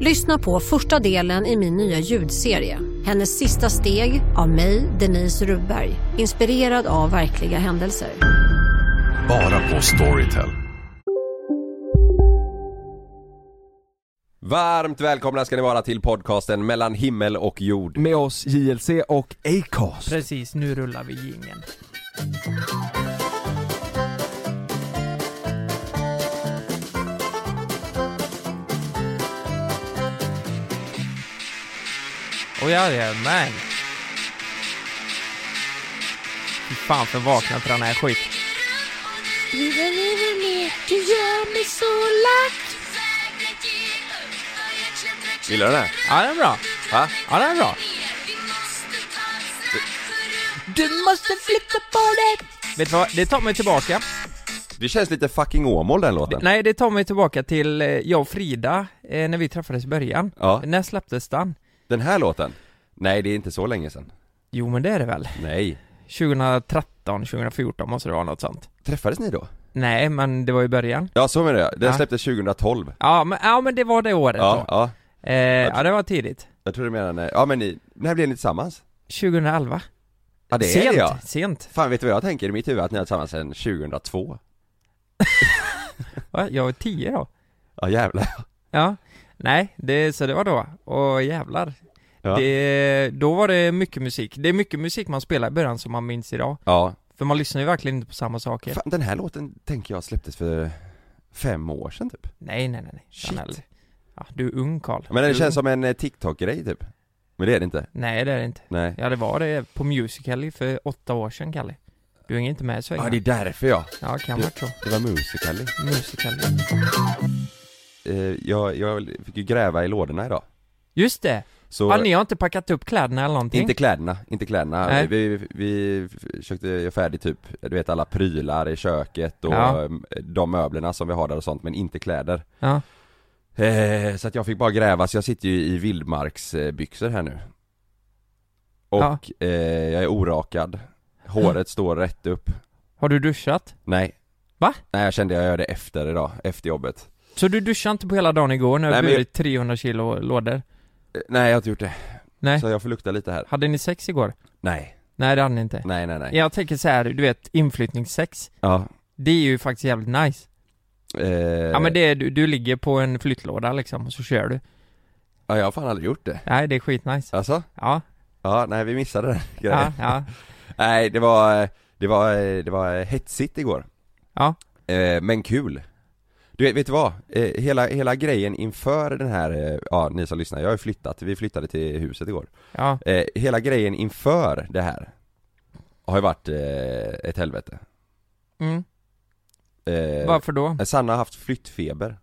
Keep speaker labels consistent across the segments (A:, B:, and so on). A: Lyssna på första delen i min nya ljudserie. Hennes sista steg av mig, Denise Rubberg. Inspirerad av verkliga händelser.
B: Bara på Storytel.
C: Varmt välkomna ska ni vara till podcasten mellan himmel och jord.
D: Med oss JLC och Acast.
E: Precis, nu rullar vi jingeln. Och jag jajamän! Fy fan för vakna till den här skit.
C: Gillar du den här?
E: Ja, den är bra.
C: Va?
E: Ja, den är bra. Du måste flytta på dig! Vet du vad, det tar mig tillbaka.
C: Det känns lite fucking Åmål den låten.
E: Nej, det tar mig tillbaka till eh, jag och Frida, eh, när vi träffades i början.
C: Ja,
E: När släpptes den?
C: den här låten. Nej, det är inte så länge sedan.
E: Jo, men det är det väl?
C: Nej.
E: 2013, 2014 måste det vara något sånt.
C: Träffades ni då?
E: Nej, men det var i början.
C: Ja, så menar jag. Den
E: Ja.
C: släpptes 2012.
E: Ja, men, ja, men det var det året
C: Ja,
E: då.
C: ja.
E: Eh, ja, det var tidigt.
C: Jag tror du menar när, ja men ni, när blev ni tillsammans?
E: 2011.
C: Ja det
E: sent,
C: är det ja.
E: sent.
C: Fan vet du vad jag tänker i mitt huvud? Att ni har varit tillsammans sedan 2002.
E: Va? Jag var 10 då.
C: Ja jävlar.
E: Ja. Nej, det, så det var då. Och jävlar.
C: Ja.
E: Det, då var det mycket musik. Det är mycket musik man spelar i början som man minns idag.
C: Ja.
E: För man lyssnar ju verkligen inte på samma saker.
C: Fan, den här låten tänker jag släpptes för fem år sedan typ.
E: Nej, nej, nej. nej.
C: Shit.
E: Chanel. Ja, du är ung Karl.
C: Men
E: Du
C: det
E: är
C: känns
E: ung.
C: som en eh, TikTok-grej typ. Men det är det inte.
E: Nej, det är det inte.
C: Nej.
E: Ja, det var det på Musical.ly för åtta år sedan, Kalle. Du hänger inte med i svängarna.
C: Ja det är därför ja.
E: Ja, kan
C: Du-
E: vara så.
C: Det var Musical.ly.
E: Musical.ly.
C: Eh, jag, jag fick ju gräva i lådorna idag.
E: Just det!
C: Så,
E: Ja, ni har inte packat upp kläderna eller någonting?
C: inte kläderna, inte kläderna.
E: Nej.
C: Vi, vi, vi försökte göra färdigt typ, du vet alla prylar i köket och
E: Ja.
C: eh, de möblerna som vi har där och sånt, men inte kläder.
E: Ja.
C: Eh, så att jag fick bara gräva, så jag sitter ju i vildmarksbyxor här nu. Och
E: Ja.
C: eh, jag är orakad, håret står rätt upp.
E: Har du duschat?
C: Nej.
E: Va?
C: Nej jag kände jag gör det efter idag, efter jobbet.
E: Så du duschade inte på hela dagen igår när
C: Nej,
E: du
C: men-
E: burit 300 kilo lådor?
C: Eh, Nej jag har inte gjort det.
E: Nej.
C: Så jag får lukta lite här.
E: Hade ni sex igår?
C: Nej,
E: Nej det hade ni inte.
C: nej nej nej.
E: Jag tänker så här, du vet inflyttningssex,
C: Ja.
E: det är ju faktiskt jävligt nice.
C: Eh,
E: Ja men det är, du, du ligger på en flyttlåda liksom och så kör du.
C: ja, jag har fan aldrig gjort det.
E: Nej det är skitnice.
C: Alltså?
E: Ja,
C: Ja, nej vi missade den grejen.
E: ja, ja.
C: Nej, det var, det var, det var hetsigt igår.
E: Ja.
C: Eh, men kul. Du vet, vet du vad? Eh, hela, hela grejen inför den här, eh, ja ni som lyssnar, jag har ju flyttat, vi flyttade till huset igår.
E: ja.
C: Eh, hela grejen inför det här har ju varit eh, ett helvete.
E: Mm.
C: Eh,
E: Varför då?
C: Sanna har haft flyttfeber.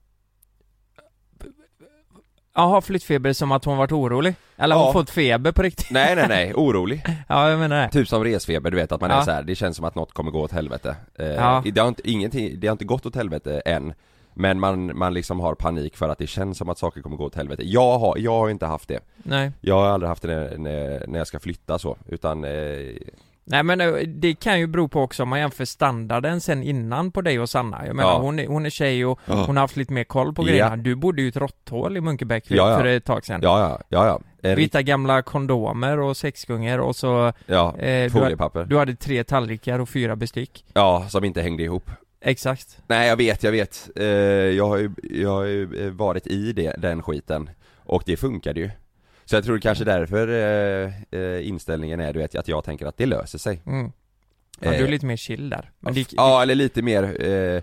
E: Jaha, flyttfeber som att hon varit orolig? Eller har
C: Ja.
E: hon fått feber på riktigt?
C: Nej, nej, nej, orolig.
E: Ja jag menar det.
C: Typ som resfeber, du vet att man är
E: Ja.
C: så här, det känns som att något kommer gå åt helvete. Eh,
E: Ja.
C: det, har inte, ingenting, det har inte gått åt helvete än, men man, man liksom har panik för att det känns som att saker kommer gå åt helvete. Jag har, jag har inte haft det.
E: Nej.
C: Jag har aldrig haft det när, när, när jag ska flytta så, utan eh,
E: Nej men eh, det kan ju bero på också om man jämför standarden sen innan på dig och Sanna. Jag menar
C: Ja.
E: hon, är, hon är tjej och
C: Ja.
E: hon har haft lite mer koll på
C: Ja.
E: grejerna. Du bodde ju i ett råtthål i Munkebäck
C: Ja, ja.
E: för ett tag sedan.
C: ja, ja, ja, ja. En
E: Vi
C: rikt-
E: hittade gamla kondomer och sexgungor och så,
C: ja
E: eh, du, ha-
C: foliepapper.
E: du hade tre tallrikar och fyra bestick.
C: Ja, som inte hängde ihop.
E: Exakt.
C: Nej, jag vet, jag vet. Eh, jag har ju, jag har ju eh, varit i det, den skiten, och det funkade ju. Så jag tror kanske därför eh, eh, inställningen är du vet, att jag tänker att det löser sig.
E: Mm. Ja,
C: Eh,
E: du är lite mer chill där. Men det,
C: Ja, eller lite mer, eh,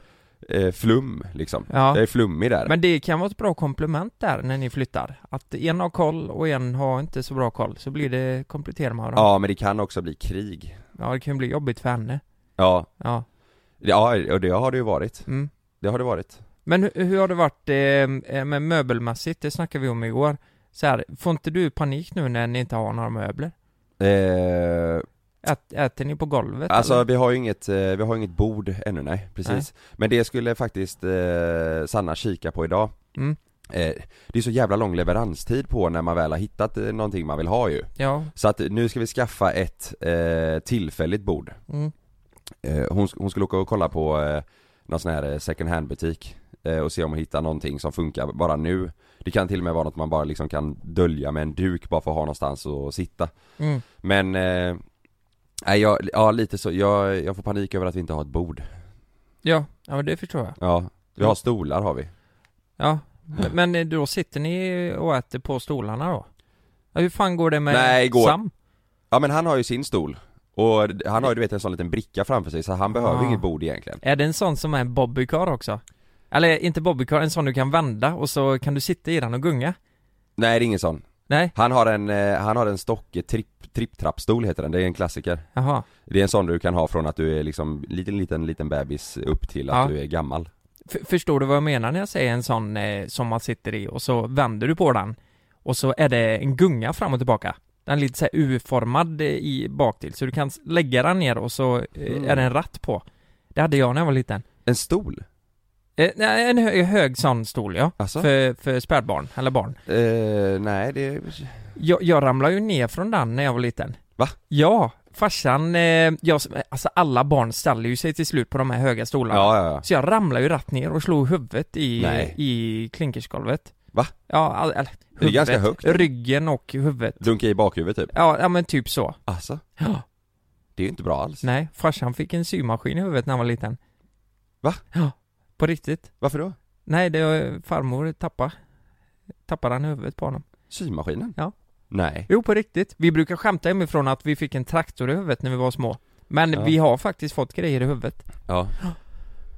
C: eh, flum liksom.
E: Ja.
C: Jag är flummig där.
E: Men det kan vara ett bra komplement där när ni flyttar. Att en har koll och en har inte så bra koll, så blir det kompletterar man varandra.
C: Ja men det kan också bli krig.
E: Ja. det kan ju bli jobbigt för henne.
C: Ja,
E: Ja.
C: ja och det har det ju varit.
E: Mm.
C: Det har det varit.
E: Men hur, hur har det varit eh, eh, med möbelmässigt? Det snackade vi om igår. Så här, får inte du panik nu när ni inte har några möbler?
C: Eh,
E: Ät, äter ni på golvet?
C: Alltså
E: eller?
C: vi har ju inget, eh, vi har inget bord ännu nej, precis. Men det skulle faktiskt eh, Sanna kika på idag.
E: Mm.
C: Eh, det är så jävla lång leveranstid på när man väl har hittat eh, någonting man vill ha ju.
E: Ja.
C: Så att nu ska vi skaffa ett eh, tillfälligt bord.
E: Mm.
C: Eh, hon, sk- hon skulle åka och kolla på eh, någon sån här eh, second hand butik eh, och se om hon hittar någonting som funkar bara nu. Det kan till och med vara något man bara liksom kan dölja med en duk bara för att ha någonstans att sitta.
E: Mm.
C: Men, eh, nej jag, ja lite så, jag, jag får panik över att vi inte har ett bord.
E: Ja, ja men det förstår jag.
C: Ja, vi
E: Mm.
C: har stolar har vi.
E: Ja. Men, men eh, då sitter ni och äter på stolarna då? Ja, hur fan går det med
C: Nej, igår-
E: Sam?
C: Ja men han har ju sin stol. Och d- han har ju du vet en sån liten bricka framför sig så han behöver
E: Ah.
C: inget bord egentligen.
E: Är det en sån som är en bobbycar också? Eller inte bobbycar, en sån du kan vända och så kan du sitta i den och gunga?
C: Nej det är ingen sån.
E: Nej?
C: Han har en, eh, han har en stocke, tripp, tripptrappstol heter den, det är en klassiker.
E: Jaha.
C: Det är en sån du kan ha från att du är liksom liten, liten, liten bebis upp till att
E: Ja.
C: du är gammal.
E: F- förstår du vad jag menar när jag säger en sån eh, som man sitter i och så vänder du på den och så är det en gunga fram och tillbaka. Den är lite så här U-formad eh, i baktill så du kan s- lägga den ner och så eh,
C: Mm.
E: är det en ratt på. Det hade jag när jag var liten.
C: En stol?
E: Eh, nej, en hö- hög sån stol ja.
C: Alltså?
E: För, för spädbarn eller barn.
C: Eh, nej det...
E: Jag, jag ramlade ju ner från den när jag var liten.
C: Va?
E: Ja, farsan, eh, jag, alltså alla barn ställer ju sig till slut på de här höga stolarna.
C: Ja, ja, ja.
E: Så jag ramlade ju rätt ner och slog huvudet i,
C: Nej.
E: i klinkersgolvet.
C: Va?
E: Ja, all, eller,
C: Det är ganska högt.
E: Ryggen och huvudet.
C: Dunka i bakhuvudet typ?
E: Ja, ja men typ så.
C: Alltså?
E: Ja.
C: Det är ju inte bra alls.
E: Nej, farsan fick en symaskin i huvudet när han var liten.
C: Va?
E: Ja, på riktigt.
C: Varför då?
E: Nej, det var farmor tappade. Tappade han huvudet på honom.
C: Symaskinen?
E: Ja.
C: Nej.
E: Jo, på riktigt. Vi brukar skämta hemifrån att vi fick en traktor i huvudet när vi var små. Men
C: Ja.
E: vi har faktiskt fått grejer i huvudet.
C: Ja.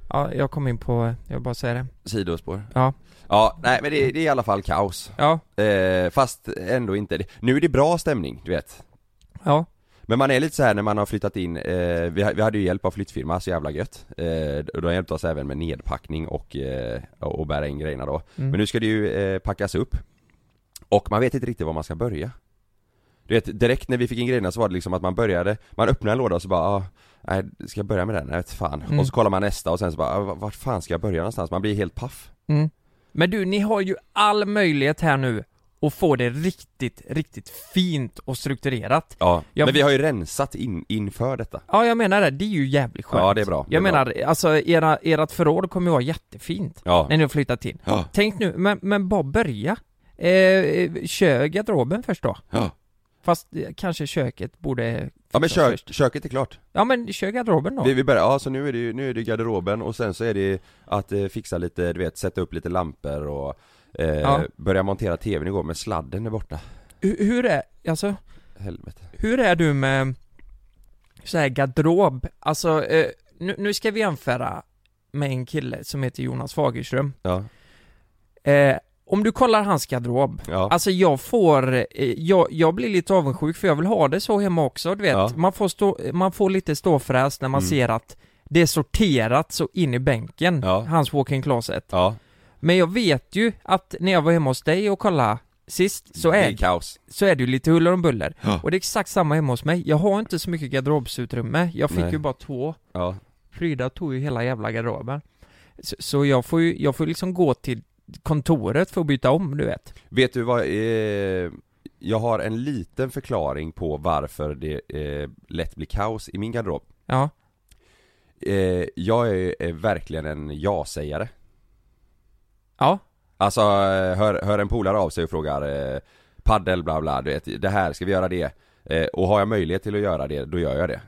E: Ja, jag kom in på, jag bara säger det.
C: Sidospår.
E: Ja.
C: Ja, nej men det, det är i alla fall kaos.
E: Ja,
C: Eh, fast ändå inte. Nu är det bra stämning, du vet.
E: ja,
C: Men man är lite så här när man har flyttat in, eh, vi, ha- vi hade ju hjälp av flyttfirma, så jävla gött. Eh, och de hjälpte oss även med nedpackning och, eh, och bära in grejerna då.
E: Mm.
C: Men nu ska det ju eh, packas upp. Och man vet inte riktigt var man ska börja. Du vet, direkt när vi fick in grejerna så var det liksom att man började, man öppnade en låda och så bara ah, nej, ska jag börja med den? Nej, vet fan.
E: Mm.
C: Och så kollar man nästa och sen så bara, ah, vart fan ska jag börja någonstans? Man blir helt paff.
E: Mm. Men du, ni har ju all möjlighet här nu att få det riktigt, riktigt fint och strukturerat.
C: Ja.
E: Ja.
C: Men vi har ju rensat in, inför detta.
E: Ja, jag menar det. Det är ju jävligt skönt.
C: Ja, det är bra. Det är
E: Jag menar, alltså era, ert förråd kommer ju vara jättefint
C: Ja.
E: när ni har flyttat in.
C: Ja.
E: Tänk nu, men, men bara börja. Eh, kör garderoben först då.
C: Ja.
E: Fast eh, kanske köket borde...
C: Ja men
E: fixas
C: kö,
E: först.
C: köket är klart.
E: Ja men kör garderoben då.
C: Vi, vi börjar, ja så nu är det ju, nu är det garderoben och sen så är det att eh, fixa lite, du vet, sätta upp lite lampor och eh,
E: Ja.
C: börja montera tvn igår men sladden är borta.
E: Hur, hur är, alltså,
C: Helvete.
E: Hur är du med så här garderob? Alltså, eh, nu, nu ska vi jämföra med en kille som heter Jonas Fagerström.
C: Ja,
E: Eh, om du kollar hans garderob,
C: ja.
E: alltså jag får, eh, jag, jag blir lite avundsjuk för jag vill ha det så hemma också, du vet.
C: Ja.
E: Man, får stå, man får lite ståfräs när man
C: Mm.
E: ser att det är sorterat så in i bänken,
C: Ja.
E: hans walk-in closet.
C: ja.
E: Men jag vet ju att när jag var hemma hos dig och kollade sist, så
C: det
E: är
C: är kaos.
E: så är det ju lite huller om buller.
C: Ja.
E: Och det är exakt samma hemma hos mig. Jag har inte så mycket garderobsutrymme. Jag fick
C: Nej.
E: ju bara två.
C: Ja.
E: Frida tog ju hela jävla garderoben. Så, så jag får ju, jag får liksom gå till kontoret för att byta om, du vet.
C: Vet du vad, eh, jag har en liten förklaring på varför det eh, lätt blir kaos i min garderob.
E: Ja.
C: Eh, jag är, är verkligen en ja-sägare.
E: Ja.
C: Alltså, eh, hör, hör en polare av sig och frågar eh, paddel bla bla, du vet, det här, ska vi göra det? Eh, och har jag möjlighet till att göra det, då gör jag det.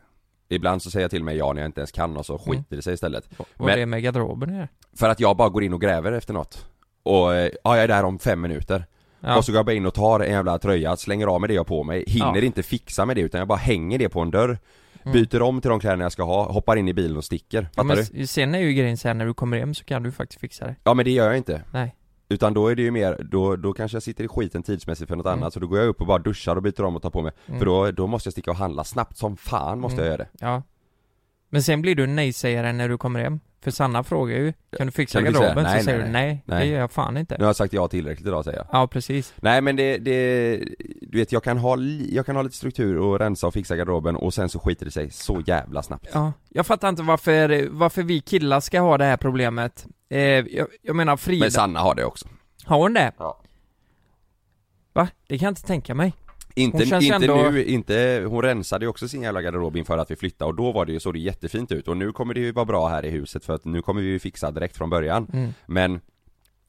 C: Ibland så säger jag till mig ja när jag inte ens kan och
E: Mm.
C: så skiter det sig istället.
E: Vad
C: Men-
E: det är med garderoben här.
C: För att jag bara går in och gräver efter något. Och, eh, ja jag är där om fem minuter.
E: Ja.
C: Och så går jag bara in och tar en jävla tröja, slänger av mig det jag har på mig, hinner
E: Ja.
C: inte fixa med det utan jag bara hänger det på en dörr.
E: Mm.
C: byter om till de kläderna jag ska ha, hoppar in i bilen och sticker.
E: Ja,
C: Fattar
E: men
C: du?
E: s- sen är ju grejen så här, när du kommer hem så kan du faktiskt fixa det.
C: Ja men det gör jag inte.
E: Nej.
C: Utan då är det ju mer, då, då kanske jag sitter i skiten tidsmässigt för något
E: Mm.
C: annat så då går jag upp och bara duschar och byter om och tar på mig.
E: Mm.
C: För då, då måste jag sticka och handla snabbt som fan måste
E: Mm.
C: jag göra det.
E: Ja. Men sen blir du nej-sägare när du kommer hem. För Sanna frågar ju, kan du fixa
C: Kan du fixa det?
E: garderoben?
C: Nej,
E: Så säger
C: nej,
E: du nej, det
C: Nej.
E: gör jag fan inte.
C: Nu har jag sagt ja tillräckligt idag säger jag.
E: Ja, precis.
C: Nej men det, det du vet jag kan ha, li- jag kan ha lite struktur och rensa och fixa garderoben och sen så skiter det sig så jävla snabbt.
E: Ja, jag fattar inte varför, varför vi killar ska ha det här problemet. Eh, jag, jag menar Frida,
C: Men Sanna har det också.
E: har hon det?
C: Ja.
E: Va? Det kan jag inte tänka mig.
C: Inte,
E: Hon känns
C: inte
E: ändå-
C: nu, inte, hon rensade ju också sin jävla garderob inför att vi flyttade och då var det ju, såg det jättefint ut och nu kommer det ju vara bra här i huset för att nu kommer vi ju fixa direkt från början.
E: Mm.
C: Men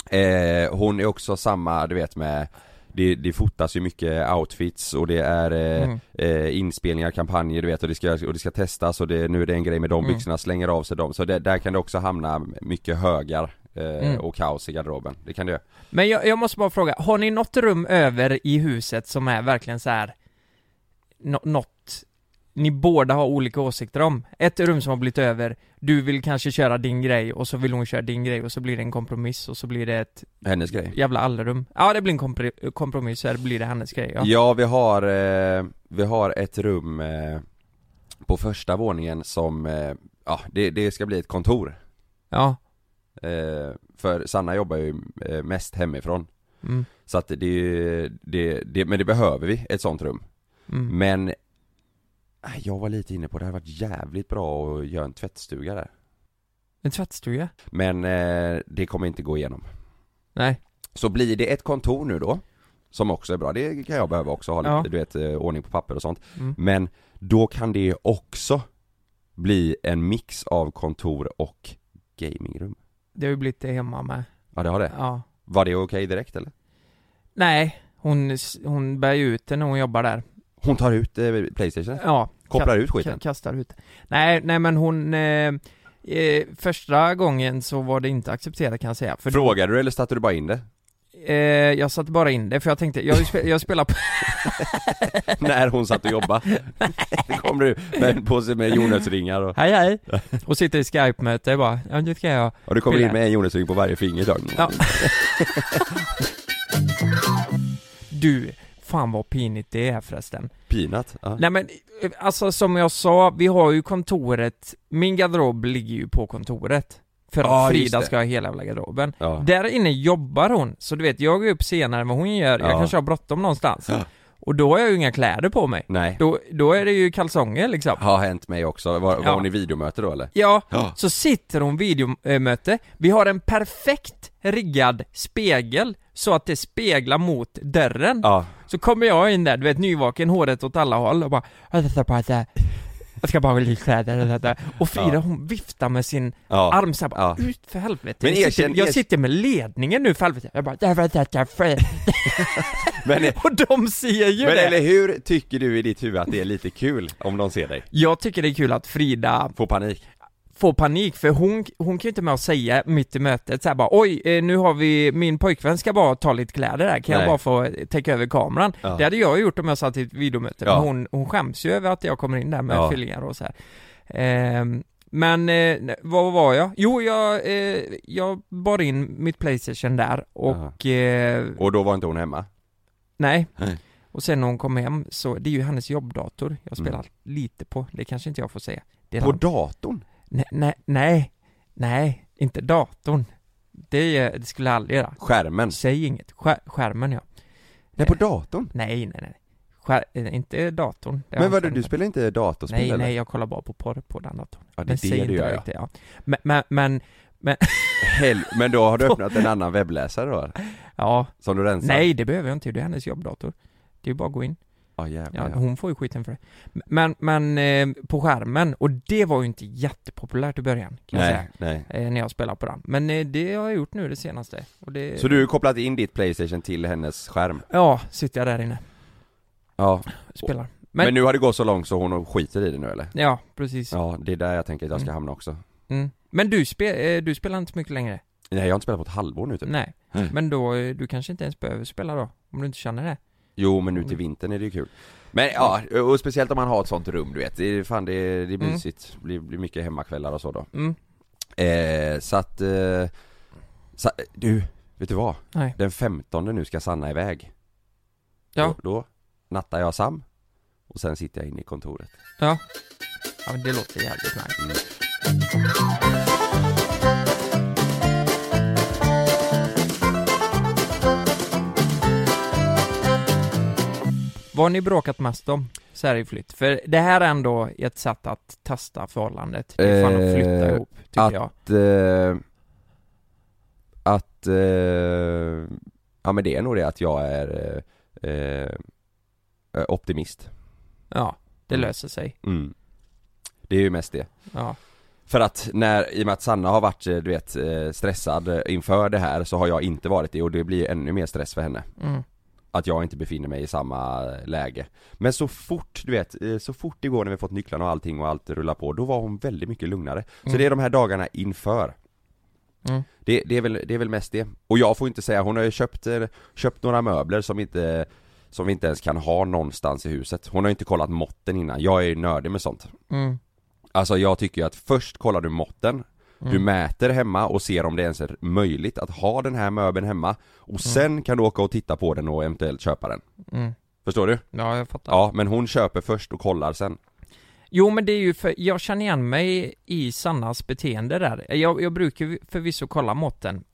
C: eh, hon är också samma, du vet med det, det fotas ju mycket outfits och det är eh,
E: Mm.
C: eh, inspelningar, kampanjer du vet och det ska, och det ska testas och det, nu är det en grej med de
E: Mm.
C: byxorna, slänger av sig dem. Så det, där kan det också hamna mycket högar eh,
E: Mm.
C: och kaos i garderoben. Det kan det göra.
E: Men jag, jag måste bara fråga, har ni något rum över i huset som är verkligen så här nå- något ni båda har olika åsikter om? Ett rum som har blivit över, du vill kanske köra din grej och så vill hon köra din grej och så blir det en kompromiss och så blir det ett
C: Hennes grej.
E: jävla allrum. Ja, det blir en kompr- kompromiss så här blir det hennes grej. Ja.
C: Ja, vi har, eh, vi har ett rum eh, på första våningen som, eh, ja det, det ska bli ett kontor
E: ja.
C: eh, För Sanna jobbar ju eh, mest hemifrån
E: Mm.
C: Så att det, är ju- det, det, men det behöver vi, ett sånt rum
E: Mm.
C: Men, eh, jag var lite inne på det, hade varit jävligt bra att göra en tvättstuga där
E: En tvättstuga?
C: Men eh, det kommer inte gå igenom
E: Nej.
C: Så blir det ett kontor nu då Som också är bra, det kan jag behöva också ha lite,
E: Ja.
C: du vet, eh, ordning på papper och sånt
E: Mm.
C: Men då kan det också bli en mix av kontor och gamingrum
E: Det har ju blivit det hemma med.
C: Ja det har det.
E: Ja.
C: Var det okej direkt eller?
E: Nej, hon, s- hon bär ju ut det när hon jobbar där.
C: Hon tar ut eh, Playstation,
E: Ja.
C: Mm. kopplar ut
E: Ka-
C: skiten
E: kastar ut. Nej, nej men hon... Eh, eh, första gången så var det inte accepterat kan jag säga. För då-
C: Frågade du eller satte du bara in det?
E: eh, jag satte bara in det för jag tänkte, jag, har ju spe, jag spelar på...
C: När hon satt och jobbade? Då kom du med en påse med jordnötsringar och,
E: Hej hej! Och sitter i skype-möte bara, ja det ska jag.
C: och du kommer in med en jordnötsring på varje finger idag.
E: Ja. Du, fan vad pinigt det är förresten.
C: Pinat? Ja.
E: Nej men, eh, alltså som jag sa, vi har ju kontoret, min garderob ligger ju på kontoret. För att
C: Ja, just
E: Frida
C: det.
E: ska ha hela jävla garderoben.
C: Ja.
E: Där inne jobbar hon, så du vet, jag går upp senare än vad hon gör, jag
C: Ja.
E: kanske har bråttom någonstans.
C: Ja.
E: Och då har jag ju inga kläder på mig.
C: Nej.
E: Då, då är det ju kalsonger liksom.
C: Har hänt mig också. Var, var
E: Ja.
C: hon i videomöte då eller?
E: Ja,
C: Ja.
E: så sitter hon videomöte, vi har en perfekt riggad spegel så att det speglar mot dörren.
C: Ja.
E: Så kommer jag in där, du vet nyvaken, håret åt alla håll och bara "Jag ska bara så här, Jag ska bara ha lite kläder och sånt där." Och Frida
C: Ja.
E: hon viftar med sin
C: Ja.
E: arm så här, bara,
C: Ja.
E: ut för helvete.
C: Men
E: jag,
C: erkänn-
E: sitter, jag
C: erk-
E: sitter med ledningen nu för helvete. Jag bara, "Jag vet att jag får-"
C: Men, eh,
E: och de ser ju
C: men
E: det.
C: eller hur tycker du i ditt huvud att det är lite kul om de ser dig?
E: Jag tycker det är kul att Frida
C: Får panik?
E: får panik för hon, hon kan ju inte med att säga mitt i mötet så här bara oj, eh, nu har vi, min pojkvän ska bara ta lite kläder här, kan
C: Nej.
E: jag bara få eh, täcka över kameran?
C: Ja.
E: Det hade jag gjort om jag satt i ett videomöte,
C: Ja.
E: men hon, hon skäms ju över att jag kommer in där med
C: Ja.
E: fyllingar och så här. Ehm, men, eh, ne- vad var jag? Jo, jag, eh, jag bar in mitt Playstation där och, eh,
C: Och då var inte hon hemma?
E: nej.
C: Nej.
E: Och sen när hon kom hem så, det är ju hennes jobbdator jag
C: Mm.
E: spelar lite på, det kanske inte jag får säga. Det är
C: På
E: en-
C: datorn?
E: Nej, nej, nej, nej, inte datorn. Det, eh, det skulle jag aldrig göra.
C: Skärmen?
E: Säg inget. Skär, skärmen ja. Eh,
C: Nej på datorn?
E: Nej, nej, nej. Skär, eh, inte datorn. Det har
C: Men
E: jag
C: vadå,
E: inte
C: du spelar inte datorspel
E: Nej,
C: eller?
E: nej, jag kollar bara på porr på den datorn.
C: Ja, det
E: Men säg
C: är det
E: inte
C: du gör
E: direkt
C: ja.
E: det, ja. Men, men, men
C: Hel... Men då har du öppnat en annan webbläsare då?
E: ja.
C: Som du rensar?
E: Nej, det behöver jag inte. Det är hennes jobbdator. Det är bara att gå in.
C: Ja jävlar
E: Ja,
C: ja.
E: hon får ju skiten för det. Men, men eh, på skärmen, och det var ju inte jättepopulärt i början, kan jag
C: Nej,
E: säga.
C: nej.
E: Eh, när jag spelade på den. Men eh, det har jag gjort nu det senaste. Och det,
C: Så du har kopplat in ditt Playstation till hennes skärm?
E: Ja, sitter jag där inne.
C: Ja.
E: Spelar. Men,
C: Men, nu har det gått så långt så hon skiter i det nu eller?
E: ja, precis.
C: Ja, det är där jag tänker att jag ska
E: Mm.
C: hamna också.
E: Mm. Men du, spe, eh, du spelar inte så mycket längre?
C: Nej, jag har inte spelat på ett halvår nu typ.
E: Nej.
C: Nej.
E: Men då, eh, du kanske inte ens behöver spela då? Om du inte känner det?
C: Jo, men nu till vintern är det ju kul. Men ja, och speciellt om man har ett sånt rum du vet, det är, fan det är, det är mysigt, det blir, blir mycket hemmakvällar och så då
E: Mm.
C: eh, Så att, eh, sa, du, vet du vad?
E: Nej.
C: Den 15 nu ska Sanna iväg
E: Ja.
C: då, då nattar jag Sam och sen sitter jag inne i kontoret
E: Ja. Ja men det låter jävligt nice. Vad har ni bråkat mest om? Så här i flytt. För det här är ändå ett sätt att testa förhållandet. Det är fan att flytta
C: Eh,
E: ihop, tycker
C: att-
E: jag.
C: Att, eh, att eh, ja men det är nog det att jag är eh, eh, optimist
E: Ja, det
C: Mm.
E: löser sig.
C: mm. Det är ju mest det
E: Ja.
C: För att när, i och med att Sanna har varit eh, du vet eh, stressad eh, inför det här så har jag inte varit det och det blir ju ännu mer stress för henne
E: Mm.
C: Att jag inte befinner mig i samma eh, läge Men så fort, du vet, eh, så fort igår när vi fått nycklarna och allting och allt rullar på Då var hon väldigt mycket lugnare Så
E: Mm.
C: det är de här dagarna inför
E: Mm.
C: det, det, är väl, det är väl mest det Och jag får inte säga, hon har ju köpt, eh, köpt några möbler som inte Som vi inte ens kan ha någonstans i huset Hon har ju inte kollat måtten innan, jag är ju nördig med sånt
E: Mm.
C: Alltså jag tycker ju att först kollar du måtten Du
E: Mm.
C: mäter hemma och ser om det ens är möjligt att ha den här möbeln hemma Och sen kan du åka och titta på den och eventuellt köpa den
E: Mm.
C: Förstår du?
E: Ja, jag fattar.
C: Ja, men hon köper först och kollar sen
E: Jo men det är ju för, jag känner igen mig i Sannas beteende där. Jag, jag brukar ju förvisso kolla måtten.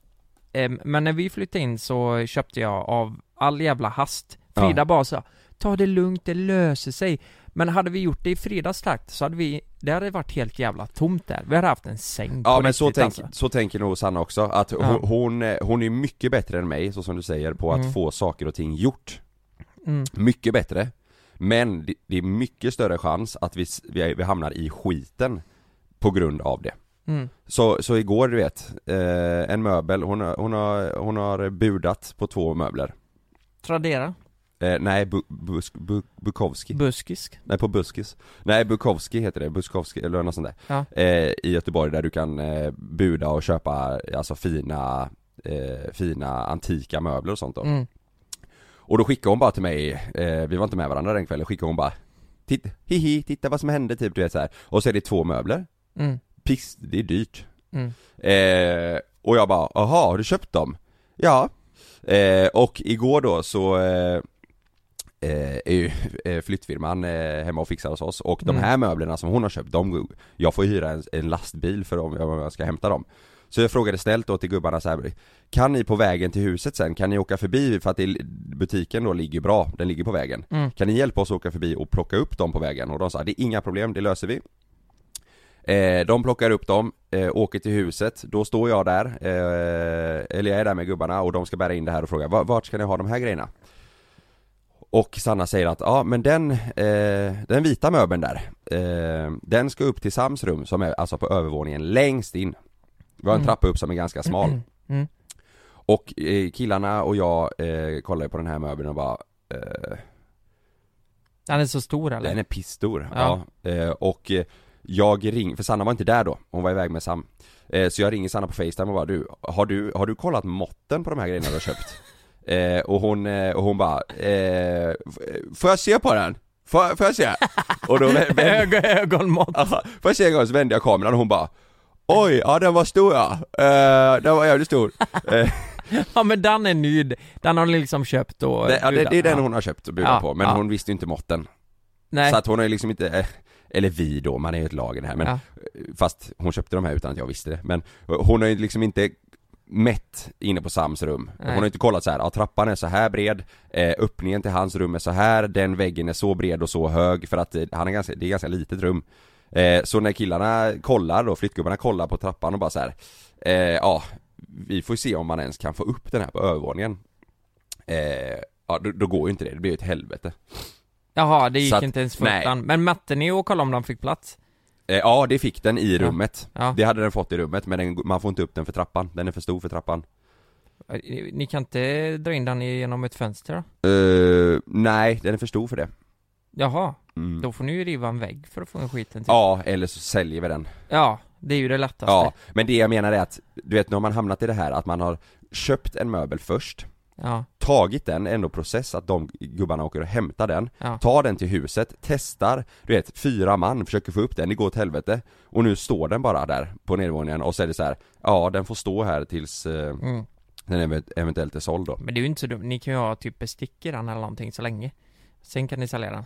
E: Em, Men när vi flyttade in så köpte jag av all jävla hast. Frida
C: Ja.
E: bara sa Ta det lugnt, det löser sig. Men hade vi gjort det i fredagstakt så hade vi, det hade varit helt jävla tomt där. Vi hade haft en säng
C: Ja
E: på
C: men
E: riktigt,
C: så, tänk,
E: alltså.
C: så tänker nog Sanna också, att hon,
E: Ja.
C: hon, eh, hon är mycket bättre än mig, så som du säger, på att
E: Mm.
C: få saker och ting gjort
E: Mm.
C: Mycket bättre Men det, det är mycket större chans att vi, s- vi, vi hamnar i skiten på grund av det
E: Mm.
C: Så, så igår du vet, eh, en möbel, hon, har- hon, har, hon har budat på två möbler
E: Tradera,
C: eh, Nej, bu, Bus- Bu- Bukowski
E: buskisk.
C: Nej på Buskis Nej Bukowski heter det, Buskowski eller något sånt där
E: Ja.
C: eh, I Göteborg där du kan eh, buda och köpa alltså fina, eh, fina antika möbler och sånt då
E: Mm.
C: Och då skickade hon bara till mig, eh, vi var inte med varandra den kvällen, skickade hon bara Titta, hihi, titta vad som hände typ du vet så här. Och så är det två möbler,
E: Mm.
C: piss, det är dyrt
E: Mm.
C: eh, Och jag bara, aha har du köpt dem? Ja eh, Och igår då så eh, eh, är ju eh, flyttfirman eh, hemma och fixar hos oss och de
E: Mm.
C: här möblerna som hon har köpt, de, jag får hyra en, en lastbil för dem om jag ska hämta dem Så jag frågade snällt då till gubbarna så här, kan ni på vägen till huset sen, kan ni åka förbi för att det, butiken då ligger bra, den ligger på vägen
E: Mm.
C: Kan ni hjälpa oss att åka förbi och plocka upp dem på vägen? Och de sa, det är inga problem, det löser vi Eh, de plockar upp dem, eh, åker till huset, då står jag där, eh, eller jag är där med gubbarna och de ska bära in det här och fråga "Va- vart ska ni ha de här grejerna? Och Sanna säger att ja men den, eh, den vita möbeln där, eh, den ska upp till Sams rum som är alltså på övervåningen längst in Vi har en
E: Mm.
C: trappa upp som är ganska smal
E: Mm.
C: Och eh, killarna och jag eh, kollade på den här möbeln och bara eh,
E: Den är så stor eller?
C: den är pissstor,
E: Ja.
C: ja. Eh, och eh, jag ring, för Sanna var inte där då, hon var iväg med Sam. Eh, så jag ringer Sanna på Facetime och bara du, har du, har du kollat måtten på de här grejerna du har köpt? eh, och hon, eh, och hon bara, eh, f- får jag se på den? Får, får jag se? och då vä- vä-
E: Ögon, ögonmått.
C: Ja, Först en gång så vände jag kameran och hon bara Oj, ja den var stor ja. Eh, den var jävligt stor. Eh,
E: Ja men den är nyd. Den har ni liksom köpt och
C: det, ja, det, det är
E: budat.
C: den hon har köpt och budat
E: Ja,
C: på, men
E: ja.
C: hon visste ju inte måtten.
E: Nej.
C: Så att hon har ju liksom inte, eh, eller vi då, man är ju ett lag i det här men
E: Ja.
C: Fast hon köpte de här utan att jag visste det, men hon har ju liksom inte mätt inne på Sams rum.
E: Nej.
C: Hon har ju inte kollat så här, ja trappan är så här bred, eh, öppningen till hans rum är så här, den väggen är så bred och så hög för att eh, han är ganska, det är ganska litet rum. Eh, så när killarna kollar då, flyttgubbarna kollar på trappan och bara så här, eh, ja vi får se om man ens kan få upp den här på övervåningen. Eh, ja då, då går ju inte det, det blir ju ett helvete.
E: Jaha, det gick
C: Så att-
E: inte ens
C: nej.
E: förtan. Men mätte ni och kollade om de fick plats?
C: Eh, ja det fick den i
E: Ja.
C: rummet.
E: Ja.
C: Det hade den fått i rummet men den, man får inte upp den för trappan, den är för stor för trappan
E: Ni- Ni kan inte dra in den genom ett fönster då?
C: Eh, Nej, den är för stor för det
E: Jaha,
C: Mm.
E: då får ni ju riva en vägg för att få en skiten till.
C: Ja, eller så säljer vi den
E: ja det är ju det lättaste.
C: Ja, men det jag menar är att Du vet, nu har man hamnat i det här att man har köpt en möbel först
E: Ja,
C: tagit den, ändå process att de gubbarna åker och hämtar den,
E: ja.
C: tar den till huset, testar, du vet, fyra man försöker få upp den, det går åt helvete och nu står den bara där på nedervåningen och så är det så här, ja den får stå här tills eh,
E: Mm.
C: den ev- eventuellt är såld då
E: Men det är ju inte så dumt, ni kan ju ha typ bestick i den eller någonting så länge Sen kan ni sälja den,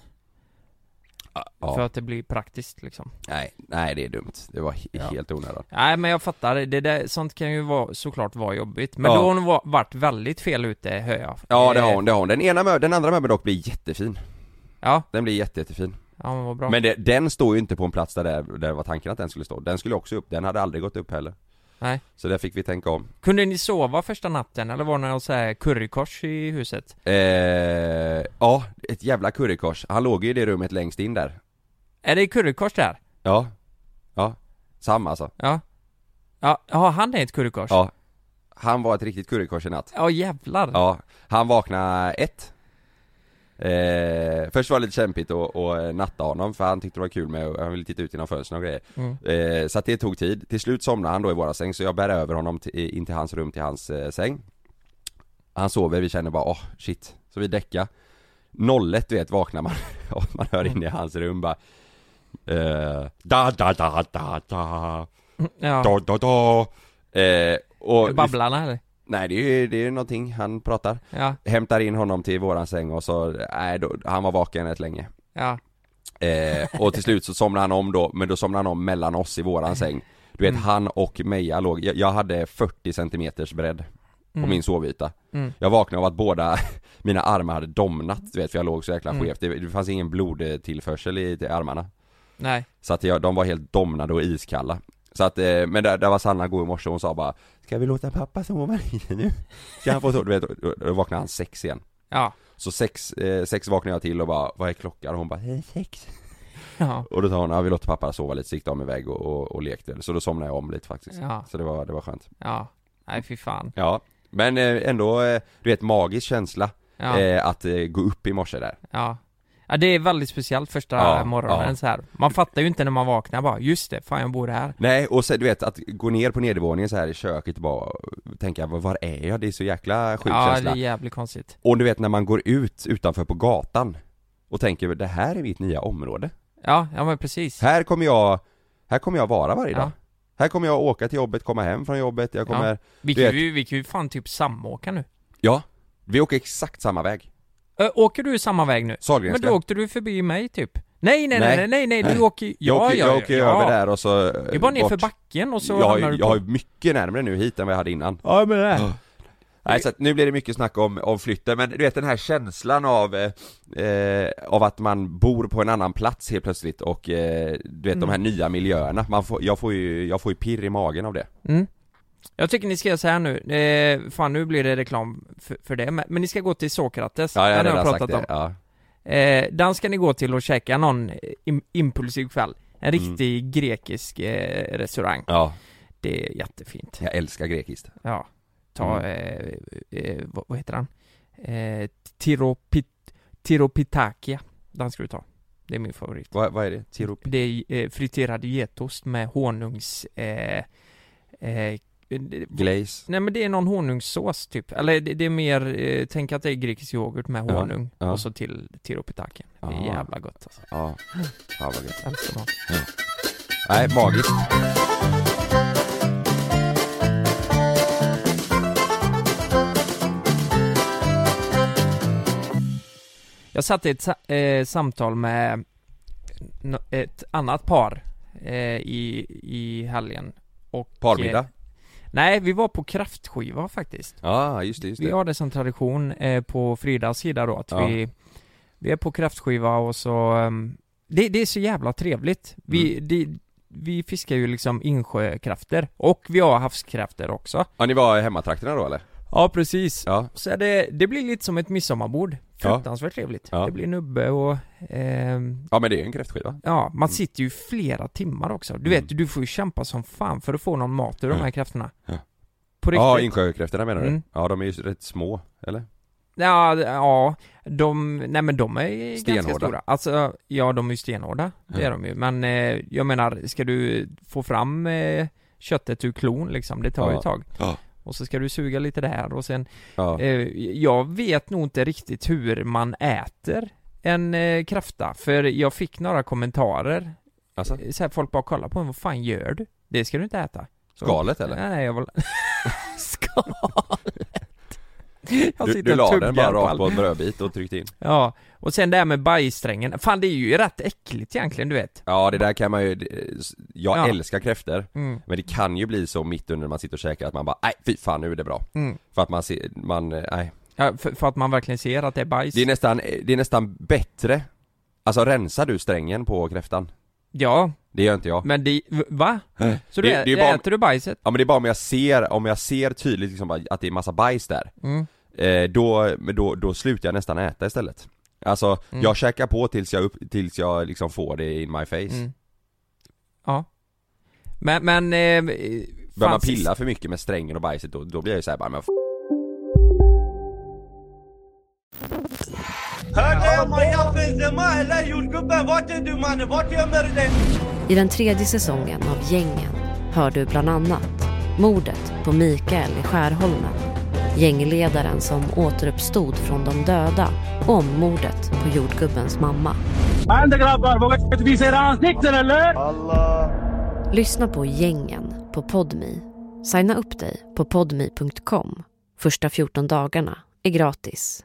E: för
C: ja.
E: att det blir praktiskt liksom
C: Nej, nej det är dumt, det var he-
E: Ja.
C: helt onödan
E: Nej men jag fattar, det där, sånt kan ju vara, såklart vara jobbigt Men
C: Ja.
E: då har hon va- varit väldigt fel ute, hör jag
C: Ja det
E: Eh,
C: har hon, det har hon. Den, ena, mö- den andra möbeln dock blir jättefin,
E: Ja,
C: den blir jätte, jättefin
E: ja men vad bra
C: Men det, den står ju inte på en plats där, det- där det var tanken att den skulle stå, den skulle också upp, den hade aldrig gått upp heller
E: Nej.
C: Så där fick vi tänka om
E: Kunde ni sova första natten eller var det någon så här currykors i huset?
C: Eh, ja, ett jävla currykors. Han låg ju i det rummet längst in där.
E: Är det currykors där?
C: Ja. Ja. Samma alltså.
E: Ja Ja, ja han är ett currykors?
C: Ja. Han var ett riktigt currykors i natt.
E: Ja jävlar!
C: Ja. Han vaknade ett. Eh, först var det lite kämpigt att att natta honom för han tyckte det var kul med han ville titta ut genom fönstren och grejer.
E: Mm.
C: Eh, så att det tog tid. Till slut somnade han då i våra säng så jag bär över honom till, in till hans rum till hans eh, säng. Han sover, vi känner bara åh shit. Så vi däckar. 01 du vet vaknar man och man hör in i hans rum bara eh, da da da da da
E: ja.
C: da da da eh, och
E: Babblarna eller?
C: Nej det är ju det är ju någonting han pratar.
E: Ja,
C: Hämtar in honom till våran säng och så, nej då, han var vaken rätt länge.
E: ja,
C: Eh, och till slut så somnade han om då, men då somnade han om mellan oss i våran säng Du vet
E: Mm.
C: han och Meja låg, jag, jag hade 40 centimeters bredd på
E: Mm.
C: min sovyta
E: Mm.
C: Jag vaknade av att båda mina armar hade domnat du vet för jag låg så jäkla
E: Mm.
C: skevt, det, det fanns ingen blodtillförsel i, i armarna
E: nej,
C: Så att jag, de var helt domnade och iskalla så att, eh, men där, där var Sanna god i morse och hon sa bara Ska vi låta pappa sova lite nu? Ska han få sova? Du vet, då- då vaknade han sex igen
E: ja,
C: Så sex, eh, sex vaknade jag till och bara Vad är klockan? Och hon bara "Det är Sex
E: ja,
C: och då sa hon, ja vi låter pappa sova lite, så gick de iväg och, och, och lekte. Så då somnade jag om lite faktiskt.
E: ja,
C: Så det var, det var skönt.
E: ja, nej fy fan
C: Ja. Men eh, ändå, eh, du vet, magisk känsla
E: Ja,
C: eh, att eh, gå upp i morse där.
E: ja Ja det är väldigt speciellt första
C: Ja,
E: morgonen
C: ja.
E: så här. Man fattar ju inte när man vaknar bara, just det, fan jag bor här
C: Nej, och sen, du vet att gå ner på nedervåningen så här i köket och bara tänka, "Var- var är jag? Det är så jäkla sjuk
E: Ja det
C: känsla.
E: är jävligt konstigt
C: Och du vet när man går ut utanför på gatan och tänker, det här är mitt nya område.
E: Ja, ja men precis
C: Här kommer jag, här kommer jag vara varje dag.
E: Ja.
C: Här kommer jag åka till jobbet, komma hem från jobbet, jag kommer...
E: Vi
C: Du
E: kan
C: vet-
E: ju, vi kan ju fan typ samåka nu
C: ja. Vi åker exakt samma väg.
E: Ö, Åker du samma väg nu? Men
C: Sahlgrenska.
E: då åkte du förbi mig typ Nej nej
C: Nej.
E: nej nej nej, nej.
C: Nej.
E: du åker ju-
C: jag
E: ja,
C: åker,
E: ja,
C: jag åker
E: ja.
C: över där och så... eh,
E: Det är bara nerför backen och så hamnar
C: jag,
E: du
C: jag
E: på...
C: är mycket närmare nu hit än vad jag hade innan
E: Ja men det
C: Nej så att nu blir det mycket snack om, om flytten, men du vet den här känslan av eh, eh, Av att man bor på en annan plats helt plötsligt och eh, du vet de
E: Mm.
C: här nya miljöerna, man får, jag, får ju, jag får ju pirr i magen av det
E: Mm. Jag tycker ni ska göra så här nu, eh, fan nu blir det reklam för, för det, men, men ni ska gå till Sokrates,
C: Ja, jag har
E: den
C: redan sagt
E: jag pratat om
C: det, ja.
E: eh, Den ska ni gå till och käka någon eh, im- impulsiv kväll En
C: Mm.
E: riktig grekisk eh, restaurang,
C: ja,
E: det är jättefint
C: jag älskar grekiskt
E: Ja,
C: Mm.
E: ta, eh, eh, vad, vad heter han? Eh, Tiropit, tiropitakia, den ska du ta Det är min favorit
C: Vad, vad är det? Tirop?
E: Det är eh, friterad getost med honungs... Eh, eh, det-
C: Glaze?
E: Nej men det är någon honungssås typ, eller det, det är mer, eh, tänk att det är grekisk yoghurt med
C: Ja,
E: honung
C: ja.
E: och så till tiropitaken Det är
C: Ah.
E: jävla gott alltså,
C: Ja, fan vad gött
E: älskar dem
C: Nej, magiskt
E: Jag satt i ett sa- eh, samtal med nå- ett annat par eh, i, i helgen och... Eh,
C: Parmiddag?
E: nej, vi var på kraftskiva faktiskt
C: Ja, just det, just
E: Vi
C: det
E: har det som tradition eh, på Fridas sida då att
C: Ja.
E: vi Vi är på kräftskiva och så ehm, det, det är så jävla trevligt Vi,
C: Mm.
E: det, vi fiskar ju liksom insjökräftor och vi har havskräftor också
C: Ja, ni var i hemmatrakterna då eller?
E: Ja precis
C: Ja,
E: Så är det, det blir lite som ett midsommarbord Fruktansvärt trevligt
C: Ja.
E: Det blir nubbe och ehm,
C: ja men det är ju en kräftskiva
E: Ja, man sitter ju flera timmar också Du vet, du får ju kämpa som fan för att få någon mat ur de här kräftorna
C: Mm. Ja.
E: På riktigt
C: Ja, insjökräftorna menar du?
E: Mm.
C: Ja, de är ju rätt små, eller?
E: Ja, d- ja, de, nej men de är ganska
C: Stenhårda.
E: stora. Alltså, ja de är ju stenhårda, det är
C: Ja.
E: de ju. Men eh, jag menar, ska du få fram eh, köttet ur klon liksom, det tar ju
C: Ja.
E: ett tag.
C: Ja.
E: Och så ska du suga lite där och sen
C: Ja.
E: eh, Jag vet nog inte riktigt hur man äter en eh, kräfta För jag fick några kommentarer Eh,
C: Alltså,
E: så här, Folk bara kollar på mig, vad fan gör du? Det ska du inte äta
C: skalet eller?
E: Nej jag var... Skalet! Jag
C: Du,
E: sitter
C: du
E: och
C: la den
E: tuggar
C: bara
E: på
C: rakt
E: allt.
C: på en brödbit och tryckte in
E: Ja, och sen det här med bajssträngen, fan det är ju rätt äckligt egentligen du vet
C: Ja det där kan man ju, jag
E: Ja.
C: älskar kräftor
E: mm.
C: Men det kan ju bli så mitt under när man sitter och käkar att man bara nej fy fan nu är det bra
E: Mm.
C: För att man ser, man, eh, nej
E: Ja, för, för att man verkligen ser att det är bajs
C: Det är nästan, eh, det är nästan bättre Alltså rensar du strängen på kräftan?
E: Ja,
C: Det gör inte jag
E: men det, v- va? Så du,
C: Det-
E: ä-
C: det är bara-
E: äter du bajset?
C: Ja men det är bara om jag ser, om jag ser tydligt liksom bara att det är massa bajs där
E: Mm.
C: eh, då, men då, då slutar jag nästan äta istället Alltså,
E: Mm.
C: jag käkar på tills jag, upp, tills jag liksom får det in my face
E: Mm. Ja Men, men... Eh,
C: Börjar man
E: fan,
C: pilla för mycket med strängen och bajset då, då blir jag ju såhär bara men f-
A: I den tredje säsongen av Gängen hör du bland annat mordet på Mikael i Skärholmen, gängledaren som återuppstod från de döda och om mordet på jordgubbens mamma. Lyssna på Gängen på Podmi. Signa upp dig på podmi.com. Första 14 dagarna är gratis.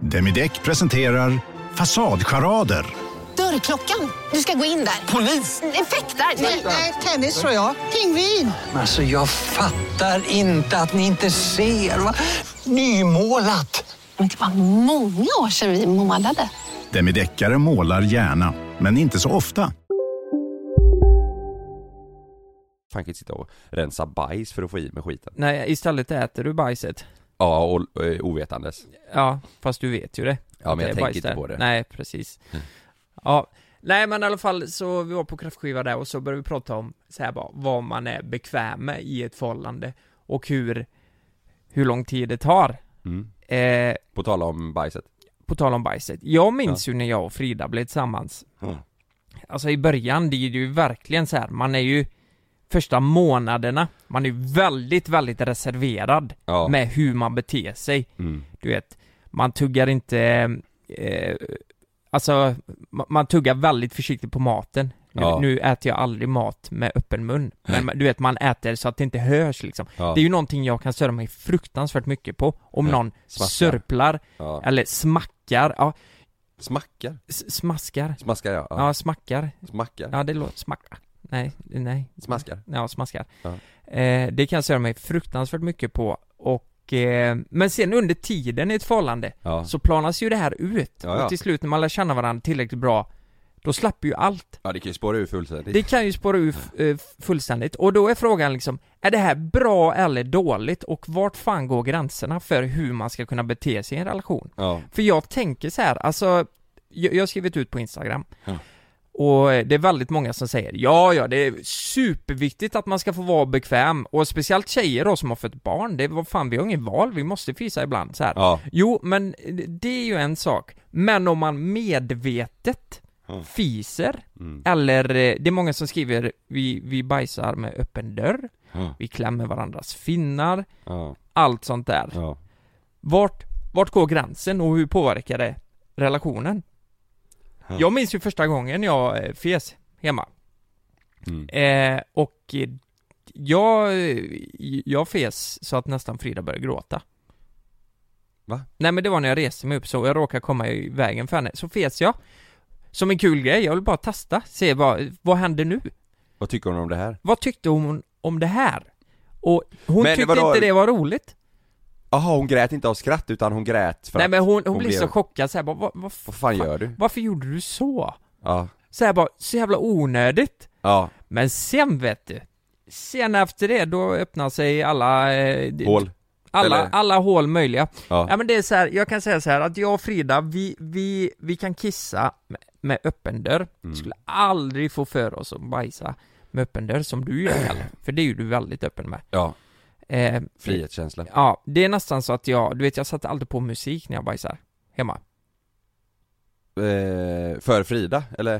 F: Demideck presenterar Fasadcharader.
G: Dörrklockan. Du ska gå in där. Polis? Effektar? Nej, nej, tennis tror jag. Pingvin. Alltså, jag fattar inte att ni inte ser. Va? Nymålat. Men det var många år sedan vi målade.
F: Demideckare målar gärna, men inte så ofta.
C: fan kan inte sitta och rensa bajs för att få i mig skiten
E: Nej, istället äter du bajset
C: Ja, och eh, ovetandes
E: Ja, fast du vet ju det
C: Ja
E: att
C: men
E: det är
C: jag tänker
E: bajs
C: inte
E: där.
C: på det Mm.
E: Nej, precis Ja, nej men i alla fall så vi var på kräftskiva där och så började vi prata om så här bara, vad man är bekväm med i ett förhållande och hur, hur lång tid det tar
C: mm.
E: eh,
C: På tal om bajset
E: På tal om bajset, jag minns ju när jag och Frida blev tillsammans
C: Mm.
E: Alltså i början, det är ju verkligen så här, man är ju Första månaderna, man är ju väldigt, väldigt reserverad
C: Ja,
E: med hur man beter sig
C: mm.
E: Du vet, man tuggar inte eh, Alltså, ma- man tuggar väldigt försiktigt på maten nu,
C: Ja.
E: nu äter jag aldrig mat med öppen mun Men man- du vet, man äter så att det inte hörs liksom
C: ja.
E: Det är ju någonting jag kan störa mig fruktansvärt mycket på Om
C: Ja.
E: någon
C: Smaskar.
E: sörplar
C: ja.
E: eller smackar, ja,
C: Smackar?
E: s- smaskar.
C: Smaskar ja, ja.
E: Ja, smackar.
C: Smackar?
E: Ja, det låter smacka. Nej, nej.
C: Smaskar?
E: Ja, smaskar.
C: Ja.
E: Eh, det kan jag störa mig fruktansvärt mycket på och eh, men sen under tiden i ett förhållande
C: Ja,
E: så planas ju det här ut.
C: Ja, ja.
E: Och till slut när man lär känna varandra tillräckligt bra, då släpper ju allt.
C: ja det kan ju spåra ur fullständigt
E: Det kan ju spåra ur f- eh, fullständigt. Och då är frågan liksom, är det här bra eller dåligt? Och vart fan går gränserna för hur man ska kunna bete sig i en relation?
C: Ja,
E: För jag tänker så här, alltså Jag, jag har skrivit ut på Instagram
C: Ja.
E: Och eh, det är väldigt många som säger Ja, ja, det är superviktigt att man ska få vara bekväm Och speciellt tjejer då som har fått barn Det var fan, vi har ingen val, vi måste fisa ibland så här.
C: ja,
E: Jo, men det är ju en sak Men om man medvetet
C: Ja.
E: fiser
C: mm.
E: Eller, eh, det är många som skriver Vi, vi bajsar med öppen dörr
C: ja,
E: Vi klämmer varandras finnar
C: ja,
E: Allt sånt där
C: ja.
E: vart, vart går gränsen och hur påverkar det relationen?
C: Ja.
E: Jag minns ju första gången jag eh, fes hemma
C: Mm.
E: eh, och eh, jag, eh, jag fes så att nästan Frida började gråta
C: Va?
E: Nej men det var när jag reste mig upp så, jag råkade komma i vägen för henne, så fes jag Som en kul grej, jag vill bara testa, se vad, vad händer nu?
C: Vad tycker hon om det här?
E: Vad tyckte hon om det här? Och hon
C: Men
E: tyckte
C: vadå?
E: inte det var roligt
C: Jaha, hon grät inte av skratt utan hon grät för
E: Nej
C: att,
E: men hon, hon,
C: hon
E: blev
C: blev-
E: så chockad såhär, vad, vad, vad
C: Vad fan gör du?
E: Varför gjorde du så?
C: Ja,
E: Så här bara, så jävla onödigt.
C: ja,
E: Men sen vet du, Sen efter det, då öppnar sig alla... eh, d-
C: Hål.
E: Alla,
C: Eller?
E: alla hål möjliga.
C: Ja.
E: Ja. men det är så här, jag kan säga så här att jag och Frida, vi, vi, vi kan kissa med, med öppen dörr.
C: Mm.
E: Skulle aldrig få för oss att bajsa med öppen dörr som du gör Kalle. För det är ju du väldigt öppen med.
C: Ja,
E: Eh,
C: frihetskänsla.
E: Ja, det är nästan så att jag, du vet jag satte alltid på musik när jag bajsar hemma.
C: Eh, för Frida, eller?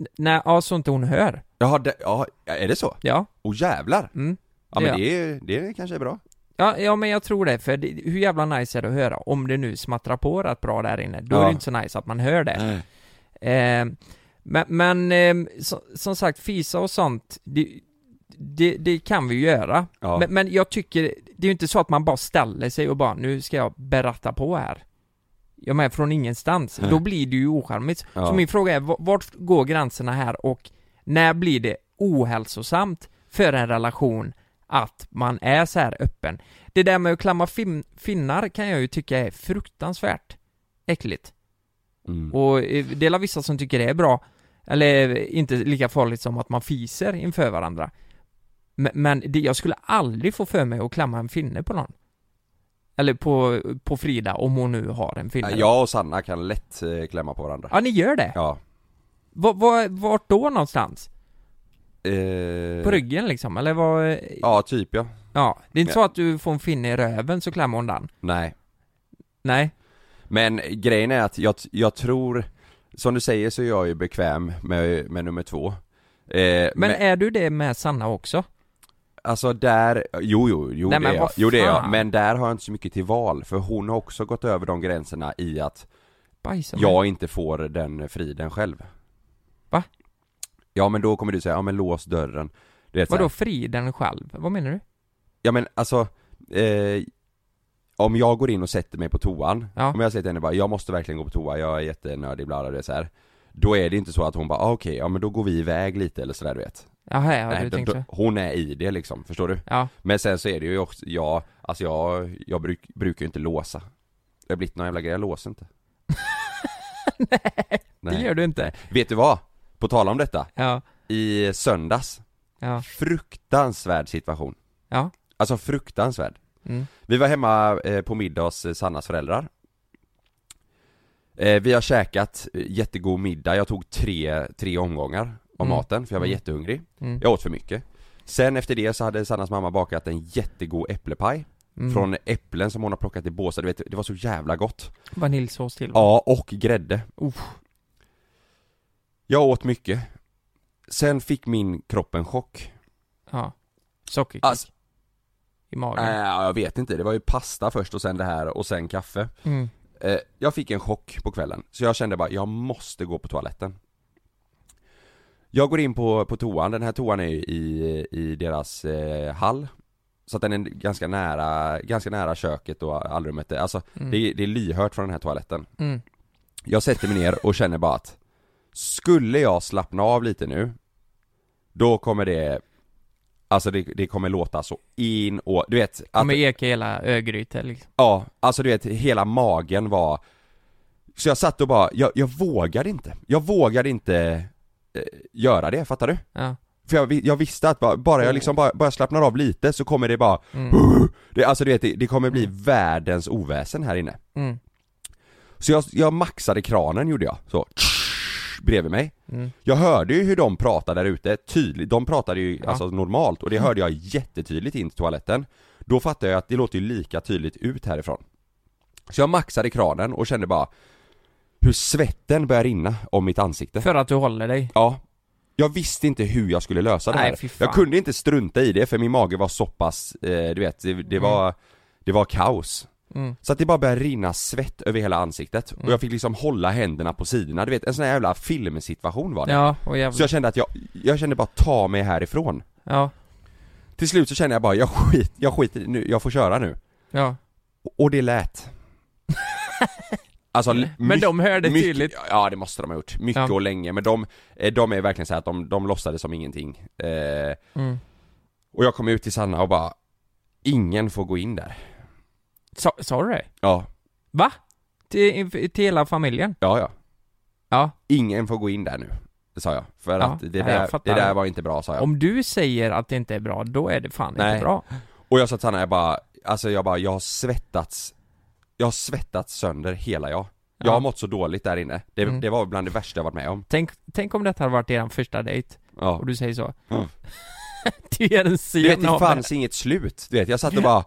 E: N- Nej, ja, så inte hon hör.
C: Jaha, det, ja, är det så?
E: Ja.
C: Åh jävlar!
E: Mm.
C: Ja
E: det
C: men
E: gör
C: det, är, det kanske är bra.
E: Ja, ja men jag tror det, för det, hur jävla nice är det att höra? Om det nu smattrar på rätt bra där inne, då
C: Ja.
E: är det inte så nice att man hör det. Eh, men men eh, så, som sagt, fisa och sånt, det, det, det kan vi ju göra.
C: Ja.
E: Men, men jag tycker, det är ju inte så att man bara ställer sig och bara nu ska jag berätta på här. Jag menar från ingenstans,
C: Nej.
E: då blir det ju ocharmigt.
C: Ja.
E: Så min fråga är, v- vart går gränserna här och när blir det ohälsosamt för en relation att man är så här öppen? Det där med att klamma fin- finnar kan jag ju tycka är fruktansvärt äckligt.
C: Mm.
E: Och eh, det är vissa som tycker det är bra, eller eh, inte lika farligt som att man fiser inför varandra. Men, men det, jag skulle aldrig få för mig att klamma en finne på någon. Eller på, på Frida, om hon nu har en finne.
C: Jag och Sanna kan lätt eh, klämma på varandra.
E: Ja, ni gör det?
C: Ja.
E: Va, va, vart då någonstans?
C: Eh,
E: På ryggen liksom, eller vad?
C: Ja, typ ja.
E: Ja, det är inte så att du får en finne i röven så klämmer hon den?
C: Nej.
E: Nej?
C: Men grejen är att jag, jag tror, som du säger så är jag ju bekväm med, med nummer två. Eh,
E: Men är du det med Sanna också?
C: Alltså där, jo jo, jo
E: Nej,
C: det
E: men
C: är jag.
E: vad
C: Jo det är jag,
E: fan.
C: men där har jag inte så mycket till val för hon har också gått över de gränserna i att
E: Bajsa med.
C: jag inte får den friden själv
E: Mm. Va?
C: Ja men då kommer du säga, ja men lås dörren Du vet, så här.
E: Vadå friden själv? Vad menar du?
C: Ja men alltså, eh, om jag går in och sätter mig på toan,
E: Ja.
C: om jag säger till henne bara 'Jag måste verkligen gå på toa, jag är jättenördig' bla bla, du vet så här. Då är det inte så att hon bara ah, 'Okej, ja men då går vi iväg lite' eller sådär du vet
E: Jaha, ja,
C: Nej,
E: du
C: då-
E: tänkte
C: då,
E: så?
C: Hon är i det liksom, förstår du?
E: Ja,
C: Men sen så är det ju också, jag, alltså jag, jag bruk, brukar ju inte låsa Jag har blivit någon jävla grej, jag låser inte Nej,
E: det gör du inte?
C: Vet du vad? På tal om detta,
E: Ja,
C: i söndags,
E: ja,
C: fruktansvärd situation
E: ja,
C: Alltså fruktansvärd
E: mm.
C: Vi var hemma eh, på middag hos eh, Sannas föräldrar eh, Vi har käkat eh, jättegod middag, jag tog tre, tre omgångar av
E: Mm.
C: maten för jag var
E: Mm.
C: jättehungrig
E: Mm.
C: Jag åt för mycket Sen efter det så hade Sannas mamma bakat en jättegod äpplepaj
E: Mm.
C: Från äpplen som hon har plockat i båsar, du vet, det var så jävla gott
E: Vaniljsås till?
C: Ja, och grädde
E: Uff.
C: Jag åt mycket Sen fick min kropp en chock
E: ja. Sockerkick
C: Alltså- eh,
E: i magen?
C: Nej, jag vet inte, det var ju pasta först och sen det här och sen kaffe
E: Mm.
C: Eh, Jag fick en chock på kvällen, så jag kände bara, jag måste gå på toaletten Jag går in på, på toan, den här toan är ju i, i deras eh, hall Så att den är ganska nära, ganska nära köket och allrummet, alltså
E: Mm.
C: det, är- det är lyhört från den här toaletten
E: Mm.
C: Jag sätter mig ner och känner bara att Skulle jag slappna av lite nu Då kommer det Alltså det, det kommer låta så in och, du vet att,
E: Kommer eka hela Örgryte liksom?
C: Ja, alltså du vet hela magen var Så jag satt och bara, jag, jag vågade inte Jag vågade inte eh, göra det, fattar du?
E: Ja.
C: För jag, vi- jag visste att bara, bara jag liksom bara, bara jag slappnar av lite så kommer det bara
E: Mm.
C: det, Alltså du vet, det, det kommer bli världens oväsen här inne
E: Mm.
C: Så jag, jag maxade kranen gjorde jag, så Bredvid mig
E: Mm.
C: jag hörde ju hur de pratade där ute, tydligt, de pratade ju
E: Ja. Mm.
C: alltså normalt och det hörde jag jättetydligt in till toaletten Då fattade jag att det låter ju lika tydligt ut härifrån Så jag maxade kranen och kände bara hur svetten började rinna om mitt ansikte
E: För att du håller dig?
C: Ja Jag visste inte hur jag skulle lösa det
E: Nej,
C: här
E: fy fan.
C: Jag kunde inte strunta i det för min mage var så pass, eh, du vet, det, det var Det var kaos
E: Mm.
C: Så att det bara började rinna svett över hela ansiktet och jag fick liksom hålla händerna på sidorna, du vet en sån här jävla filmsituation var det
E: Ja, och
C: så
E: jävlar.
C: jag kände att jag, jag kände bara ta mig härifrån
E: Ja,
C: Till slut så kände jag bara, jag skit, jag skiter i- nu, jag får köra nu
E: ja.
C: Och det lät Alltså, l-
E: Men de
C: mycket-
E: hörde
C: mycket-
E: tydligt?
C: Ja det måste de ha gjort, mycket
E: Ja.
C: och länge men de, eh, de är verkligen så här att de, de låtsades som ingenting eh,
E: Mm.
C: Och jag kom ut till Sanna och bara Ingen får gå in där
E: Sa, sa du det?
C: Ja,
E: Va? Till, till hela familjen?
C: ja ja,
E: Ja.
C: ingen får gå in där nu sa jag. För
E: Ja,
C: att det
E: ja,
C: där,
E: jag fattar.
C: det där var inte bra sa jag.
E: Om du säger att det inte är bra, då är det fan
C: Nej.
E: inte bra.
C: Och jag sa till Hanna, jag bara, alltså jag bara, jag har svettats Jag har svettats sönder hela jag Jag
E: Ja.
C: har mått så dåligt där inne, det,
E: Mm.
C: det var bland det värsta jag varit med om
E: Tänk, tänk om detta hade varit er första dejt,
C: ja.
E: och du säger så.
C: Mm.
E: du ger en sen
C: Du vet det
E: av
C: fanns inget slut, du vet jag satt och bara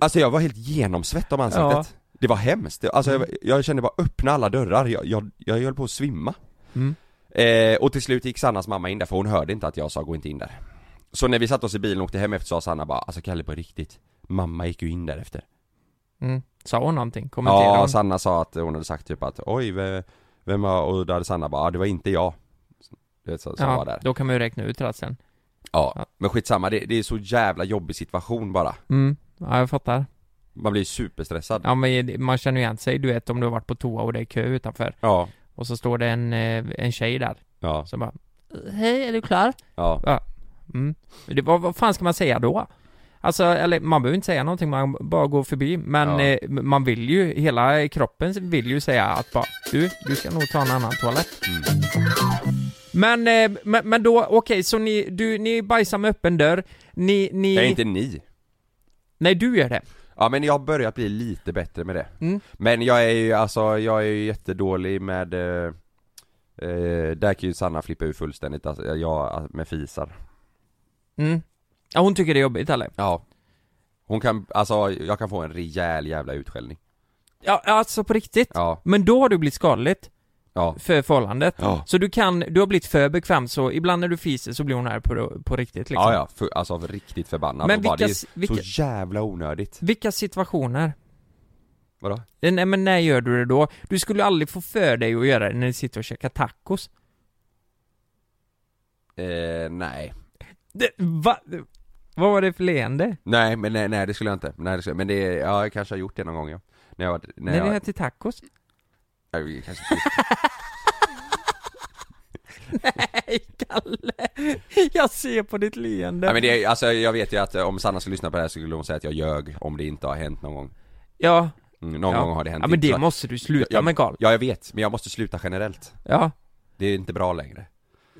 C: Alltså jag var helt genomsvett om ansiktet Det var hemskt, alltså jag, jag kände bara öppna alla dörrar, jag, jag, jag höll på att svimma
E: Mm.
C: eh, Och till slut gick Sannas mamma in där för hon hörde inte att jag sa gå inte in där Så när vi satte oss i bilen och åkte hem efter sa Sanna bara, alltså Kalle på riktigt Mamma gick ju in där efter
E: Mm. Sa hon någonting? Kommenterade
C: Ja,
E: hon?
C: Sanna sa att hon hade sagt typ att oj, ve- vem har, och då hade Sanna bara, "Ah, det var inte jag. Du vet, så, som var
E: ja,
C: där.
E: då kan man ju räkna ut det sen.
C: Ja, men skitsamma, det, det är så jävla jobbig situation bara.
E: Mm. Ja, jag fattar.
C: Man blir superstressad.
E: Ja, men man känner ju igen sig, du vet om du har varit på toa och det är kö utanför.
C: Ja,
E: Och så står det en, eh, en tjej där,
C: ja,
E: som bara Hej, är du klar?
C: ja.
E: Mm. Det, vad, vad fan ska man säga då? Alltså, eller man behöver inte säga någonting, man bara går förbi. Men
C: Ja.
E: eh, man vill ju, hela kroppen vill ju säga att bara, du, du ska nog ta en annan toalett.
C: Mm.
E: Men, eh, men, men då, okej, så ni, du, ni bajsar med öppen dörr, ni, ni...
C: Nej, inte ni.
E: Nej, du gör det.
C: Ja men jag har börjat bli lite bättre med det.
E: Mm.
C: Men jag är ju alltså, jag är ju jättedålig med eh, eh, där kan ju Sanna flippa ur fullständigt, alltså, jag med fisar.
E: Mm. Ja, hon tycker det är jobbigt eller?
C: Ja. Hon kan, alltså jag kan få en rejäl jävla utskällning.
E: Ja, alltså på riktigt.
C: Ja,
E: Men då har du blivit skadligt
C: ja.
E: för förhållandet.
C: Ja.
E: Så du kan, du har blivit för bekväm så ibland när du fiser så blir hon här på, på riktigt liksom.
C: Ja, ja, för, alltså riktigt förbannad
E: Men
C: och bara,
E: vilka
C: det
E: s-
C: är
E: vilka-
C: så jävla onödigt
E: Vilka situationer?
C: Vadå?
E: Eh, Nej men när gör du det då? Du skulle aldrig få för dig att göra det när du sitter och käkar tacos.
C: Eh, nej
E: Det, va? Vad var det för leende?
C: Nej men nej, nej det skulle jag inte, nej, det skulle, men det, ja, jag kanske har gjort det någon gång ja När jag var, när
E: När
C: jag,
E: ni äter tacos?
C: jag, jag kanske inte
E: Nej Kalle! Jag ser på ditt leende.
C: Nej men det, alltså jag vet ju att eh, om Sanna skulle lyssna på det här så skulle hon säga att jag ljög om det inte har hänt någon gång
E: Ja.
C: mm, Någon
E: ja.
C: gång har det hänt
E: Ja men det
C: Så-
E: måste du sluta
C: jag,
E: med Karl.
C: Ja jag vet, men jag måste sluta generellt
E: Ja.
C: Det är inte bra längre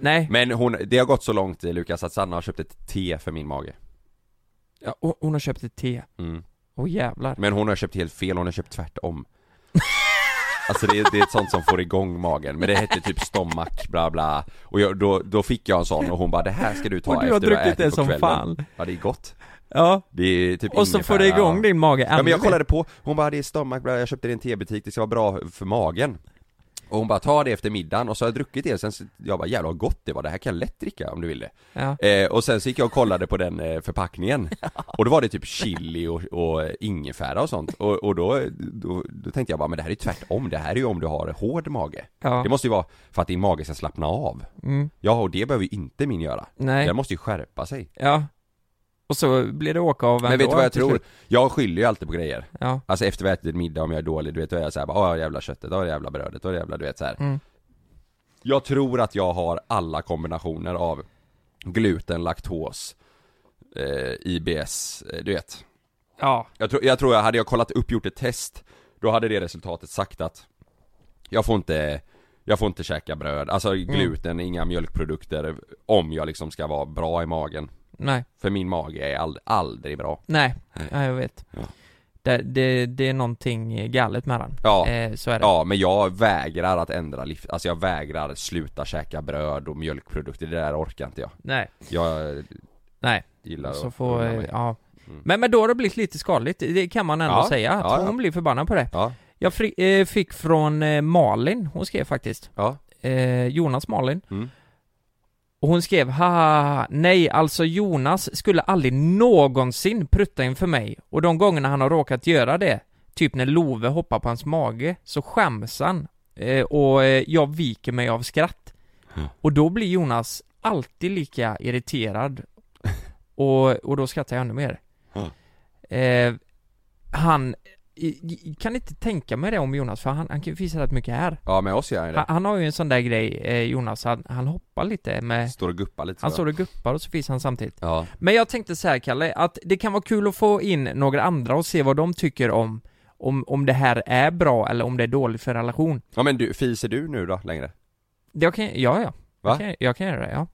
E: Nej.
C: Men hon, det har gått så långt eh, Lukas att Sanna har köpt ett te för min mage
E: Ja, hon- hon har köpt ett te.
C: mm.
E: Åh jävlar.
C: Men hon har köpt helt fel, hon har köpt tvärtom Alltså det är, det är ett sånt som får igång magen, men det hette typ stomach, bla bla Och jag, då, då fick jag en sån och hon bara 'Det här ska du ta
E: Och du har
C: efter
E: druckit
C: ätit
E: det
C: på
E: som
C: kvällen.
E: fan.
C: Ja det är gott
E: Ja.
C: Det är typ
E: Och så
C: ingefära
E: får det igång din mage
C: Ja
E: ännu
C: men jag
E: mer.
C: kollade på, hon bara 'Det är stomach, bla, jag köpte det i en tebutik, det ska vara bra för magen' Och hon bara 'Ta det efter middagen' och så har jag druckit det sen, så- jag bara 'Jävlar vad gott det var, det här kan jag lätt dricka om du vill det'
E: Ja.
C: Eh, och sen så gick jag och kollade på den eh, förpackningen Och då var det typ chili och, och ingefära och sånt Och, och då, då, då tänkte jag bara, men det här är ju tvärtom Det här är ju om du har hård mage
E: Ja.
C: Det måste ju vara för att din mage ska slappna av
E: Mm.
C: Ja, och det behöver ju inte min göra
E: Nej.
C: Den måste ju skärpa sig
E: Ja. Och så blir det åka av
C: Men, vet
E: ändå
C: du vad jag
E: till
C: tror?
E: slut.
C: Jag skyller ju alltid på grejer
E: Ja.
C: Alltså efter vi har ätit middag om jag är dålig, du vet, då är jag såhär bara, åh jävla köttet, åh jävla brödet, åh jävla, du vet så här.
E: Mm.
C: Jag tror att jag har alla kombinationer av gluten, laktos, eh, IBS, eh, du vet.
E: Ja.
C: Jag tror, jag tror, jag hade jag kollat upp, gjort ett test, då hade det resultatet sagt att jag får inte, jag får inte käka bröd, alltså gluten, inga mjölkprodukter, om jag liksom ska vara bra i magen.
E: Nej.
C: För min mage är ald- aldrig bra.
E: Nej, ja, jag vet.
C: Ja.
E: Det, det, det är någonting galet med den.
C: Ja.
E: Eh, så är det.
C: Ja, men jag vägrar att ändra liv, alltså jag vägrar sluta käka bröd och mjölkprodukter, det där orkar inte jag.
E: Nej,
C: Jag
E: nej.
C: gillar
E: Så
C: att
E: får,
C: unna
E: eh,
C: mig.
E: ja.
C: Mm.
E: Men, men då har det blivit lite skadligt, det kan man ändå
C: Ja,
E: säga. Att
C: ja, ja.
E: hon blir förbannad på det.
C: Ja,
E: Jag fri, eh, fick från eh, Malin, hon skrev faktiskt.
C: ja,
E: Eh, Jonas Malin.
C: mm.
E: Och hon skrev ha nej alltså Jonas skulle aldrig någonsin prutta inför mig och de gångerna han har råkat göra det, typ när Love hoppar på hans mage, så skäms han eh, och eh, jag viker mig av skratt.
C: Mm.
E: Och då blir Jonas alltid lika irriterad och, och då skrattar jag ännu mer.
C: Mm.
E: Eh, han i- i- kan inte tänka mig det om Jonas för han, han kan ju fisa rätt mycket här.
C: ja med oss gör jag
E: Han,
C: det.
E: han har ju en sån där grej, eh, Jonas, han, han hoppar lite med
C: Står och guppar lite så.
E: han står och guppar och så finns han samtidigt.
C: Ja,
E: Men jag tänkte så här Kalle, att det kan vara kul att få in några andra och se vad de tycker om om, om det här är bra eller om det är dåligt för relation.
C: ja men du, fiser du nu då längre?
E: Det jag kan, ja, ja.
C: Va?
E: Jag kan, jag kan göra det, ja.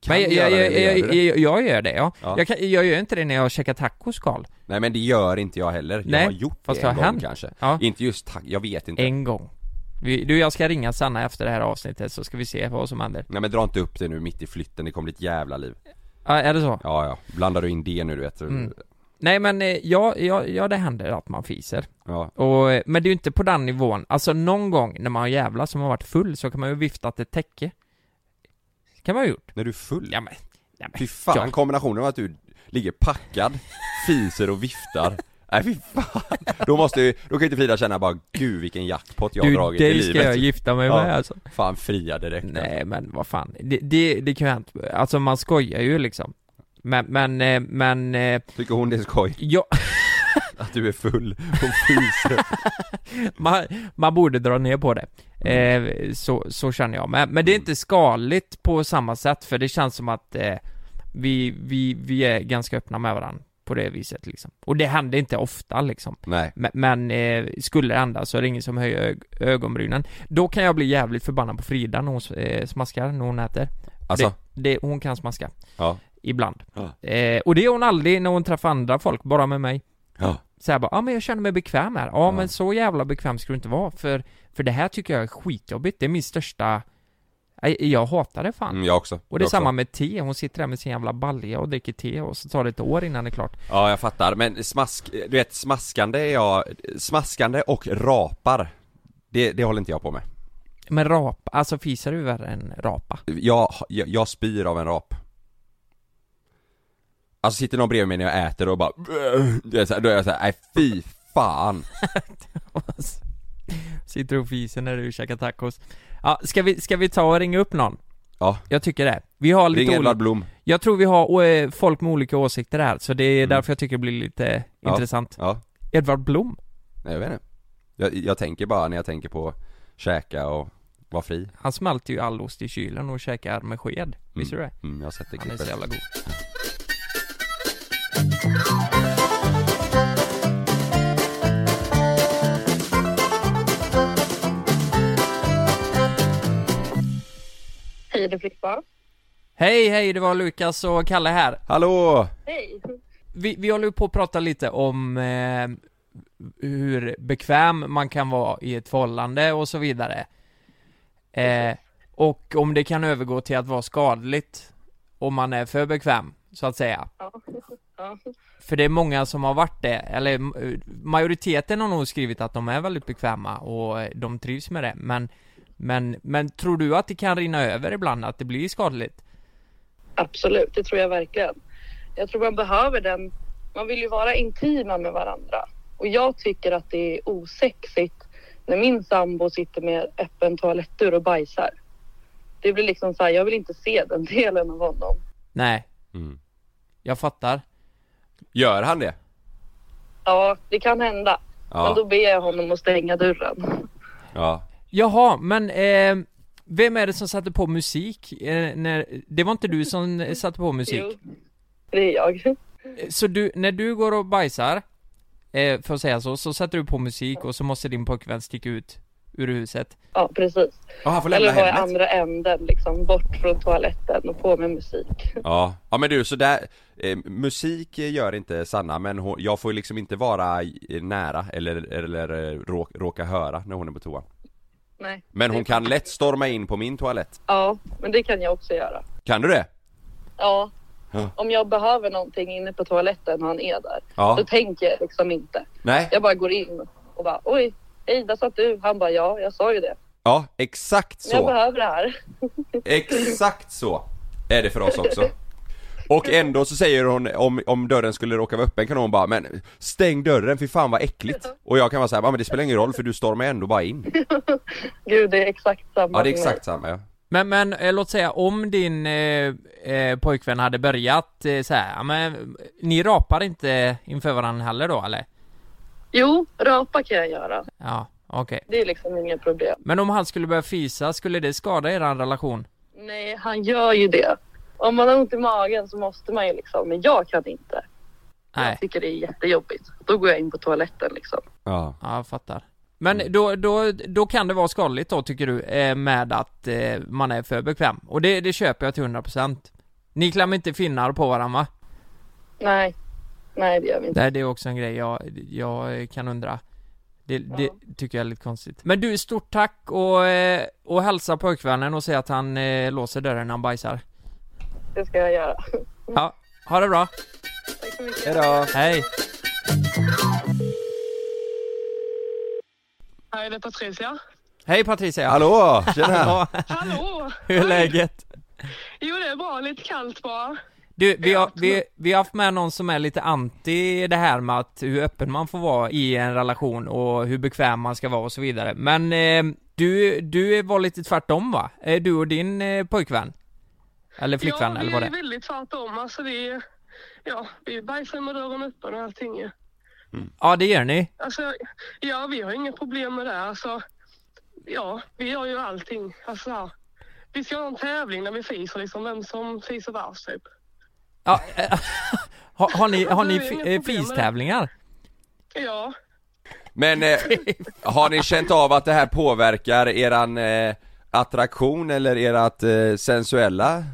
C: Kan
E: jag,
C: du göra
E: jag,
C: det,
E: jag,
C: eller gör du
E: jag,
C: det?
E: jag, jag gör det, ja.
C: Ja.
E: Jag, kan, jag gör inte det när jag käkar tacos, Karl.
C: Nej men det gör inte jag heller, jag
E: Nej,
C: har gjort
E: fast
C: det
E: det
C: en
E: har
C: gång
E: hänt.
C: kanske
E: Ja. Eh.
C: Inte just tack, jag vet inte
E: En gång. Vi, du, jag ska ringa Sanna efter det här avsnittet så ska vi se vad som händer.
C: Nej men dra inte upp det nu mitt i flytten, det kommer bli ett jävla liv
E: Ja, är det så?
C: Ja ja, blandar du in det nu du vet
E: Mm. Nej men eh, ja, ja, ja det händer att man fiser.
C: Ja,
E: Och, eh, men det är ju inte på den nivån, alltså någon gång när man har jävla som har varit full så kan man ju viftat ett täcke. kan man ha gjort.
C: när du är full?
E: Ja men, ja, men
C: Fy fan,
E: Ja.
C: kombinationen av att du ligger packad, fiser och viftar Nej fy fan, då måste ju, då kan ju inte Frida känna bara gud vilken jackpot jag har
E: du,
C: dragit i
E: dig
C: livet
E: ska jag gifta mig med alltså.
C: Fan fria direkt
E: Nej men vad fan, det, det, det kan ju hänt. Alltså man skojar ju liksom. Men, men, eh, men, eh,
C: Tycker hon det är skoj?
E: ja,
C: Att du är full och fiser?
E: man, man borde dra ner på det.
C: Mm.
E: Eh, så, så känner jag. Men, men det är inte skadligt på samma sätt, för det känns som att eh, vi, vi, vi är ganska öppna med varandra på det viset liksom. Och det händer inte ofta liksom.
C: Nej,
E: Men, men eh, skulle det hända så är det ingen som höjer ög- ögonbrynen. Då kan jag bli jävligt förbannad på Frida när hon eh, smaskar, när hon äter.
C: alltså,
E: Det, det, hon kan smaska.
C: ja,
E: Ibland.
C: Ja.
E: Eh, och det är hon aldrig när hon träffar andra folk, bara med mig.
C: ja,
E: Så här bara, ja ah, men jag känner mig bekväm här. Ja
C: Ja.
E: men så jävla bekväm ska du inte vara, för, för det här tycker jag är skitjobbigt. Det är min största... Nej, Jag hatar det fan.
C: mm, jag också
E: Och
C: Jag
E: det är
C: också.
E: samma med te, hon sitter där med sin jävla balja och dricker te och så tar det ett år innan det är klart.
C: Ja jag fattar, men smask, du vet smaskande är jag, smaskande och rapar Det, det håller inte jag på med
E: Men rapa, alltså fisar är ju värre än rapa.
C: jag, jag, jag spyr av en rap Alltså sitter någon bredvid mig när jag äter och bara det är så här, Då är jag såhär, nej fy fan
E: Sitter och fiser när du käkar tacos. Ja, ska vi, ska vi ta och ringa upp någon?
C: Ja.
E: Jag tycker det. Vi har
C: Ring
E: lite
C: Edvard
E: olika,
C: Blom
E: Jag tror vi har eh, folk med olika åsikter här, så det är
C: Mm.
E: därför jag tycker det blir lite
C: Ja.
E: intressant.
C: Ja,
E: Edvard Blom?
C: nej jag vet inte jag, jag tänker bara när jag tänker på käka och vara fri
E: Han smälter ju all ost i kylen och käkar med sked. Visste du det?
C: Mm, jag har sett det
E: Han är så
C: klippet
E: jävla god.
H: Hej, det blir kvar.
E: Hej, hej, det var Lukas och Kalle här.
C: Hallå!
H: Hej.
E: Vi, vi håller ju på att prata lite om eh, hur bekväm man kan vara i ett förhållande och så vidare. Eh, och om det kan övergå till att vara skadligt om man är för bekväm, så att säga.
H: Ja. Ja.
E: För det är många som har varit det, eller eh, majoriteten har nog skrivit att de är väldigt bekväma och eh, de trivs med det, men men, men tror du att det kan rinna över ibland, att det blir skadligt?
H: Absolut, det tror jag verkligen. Jag tror man behöver den. Man vill ju vara intima med varandra. Och jag tycker att det är osexigt när min sambo sitter med öppen toalettdörr och bajsar. Det blir liksom så här, jag vill inte se den delen av honom.
E: Nej,
C: mm.
E: jag fattar.
C: Gör han det?
H: Ja, det kan hända. Men då
C: Ja,
H: ber jag honom att stänga dörren.
C: ja
E: Jaha, men eh, vem är det som satte på musik? Eh, när, det var inte du som eh, satte på musik?
H: Jo, det är jag.
E: Eh, Så du, när du går och bajsar, eh, för att säga så, så sätter du på musik och så måste din pojkvän sticka ut ur huset?
H: Ja, precis.
C: Ja, han får lämna
H: Eller vara i
C: hemmet?
H: andra änden, liksom bort från toaletten och på med musik.
C: Ja, ja men du så där, eh, musik gör inte Sanna men hon, jag får ju liksom inte vara i- nära eller, eller eh, råk, råka höra när hon är på toa
H: Nej.
C: Men hon kan lätt storma in på min toalett,
H: Ja, men det kan jag också göra.
C: kan du det?
H: Ja.
C: Ja.
H: Om jag behöver någonting inne på toaletten och han är där,
C: Ja.
H: då tänker jag liksom inte.
C: Nej?
H: Jag bara går in och bara oj, hej där satt du. Han bara ja, jag sa ju det.
C: Ja, exakt
H: Men jag
C: så!
H: behöver det här.
C: Exakt så! Är det för oss också Och ändå så säger hon, om, om dörren skulle råka vara öppen kan hon bara 'Men stäng dörren, för fan vad äckligt' Och jag kan vara såhär, ja men det spelar ingen roll för du stormar ändå bara in
H: Gud, det är exakt samma.
C: Ja det är
H: för
C: exakt samma ja
E: Men, men eh, låt säga om din eh, eh, pojkvän hade börjat eh, så här, ja, men ni rapar inte inför varandra heller då eller?
H: mig. Jo, rapa kan jag göra.
E: Ja, okej.
H: Det är liksom inget problem.
E: Men om han skulle börja fisa, skulle det skada er relation?
H: Nej, han gör ju det. Om man har ont i magen så måste man ju liksom, men jag kan inte.
E: Nej.
H: Jag tycker det är jättejobbigt. Då går jag in på toaletten liksom.
C: Ja,
E: Ja, jag fattar.
C: Mm.
E: Men då, då, då kan det vara skadligt då tycker du, eh, med att eh, man är för bekväm. Och det, det köper jag till 100%. Ni klämmer inte finnar på varandra va?
H: Nej, nej det gör vi inte.
E: Nej, det är också en grej jag, jag kan undra. Det, det tycker jag är lite konstigt. Men du, stort tack och, eh, och hälsa pojkvännen och säg att han eh, låser dörren när han bajsar.
H: Det ska jag göra.
E: Ja, ha det bra.
H: Tack så mycket.
C: Hejdå.
E: Hej.
H: Hej, det är Patricia.
E: Hej Patricia.
C: Hallå, tjena.
E: Ja.
H: Hallå!
E: Hur är läget?
H: Jo, det är bra. Lite kallt bara.
E: Du, vi har, vi, vi har haft med någon som är lite anti det här med att hur öppen man får vara i en relation och hur bekväm man ska vara och så vidare. Men eh, du, du var lite tvärtom va? Eh, Du och din eh, pojkvän? Eller flickvän
H: ja,
E: eller vad det
H: Ja, vi är väldigt tvärtom. Alltså vi, ja, vi bajsar med dörren öppen och allting ju.
E: Ja, det gör ni.
H: Alltså, ja, vi har inga problem med det. Alltså, ja, vi gör ju allting. Alltså, så här. vi ska ha en tävling där vi fiser, liksom, vem som fiser värst typ.
E: Ja, eh, har, har ni, har ni
H: Det är inga
E: fi-
H: problem
E: eh,
H: med det.
E: fistävlingar?
H: Ja,
C: Men eh, har ni känt av att det här påverkar eran eh, attraktion eller erat eh, sensuella?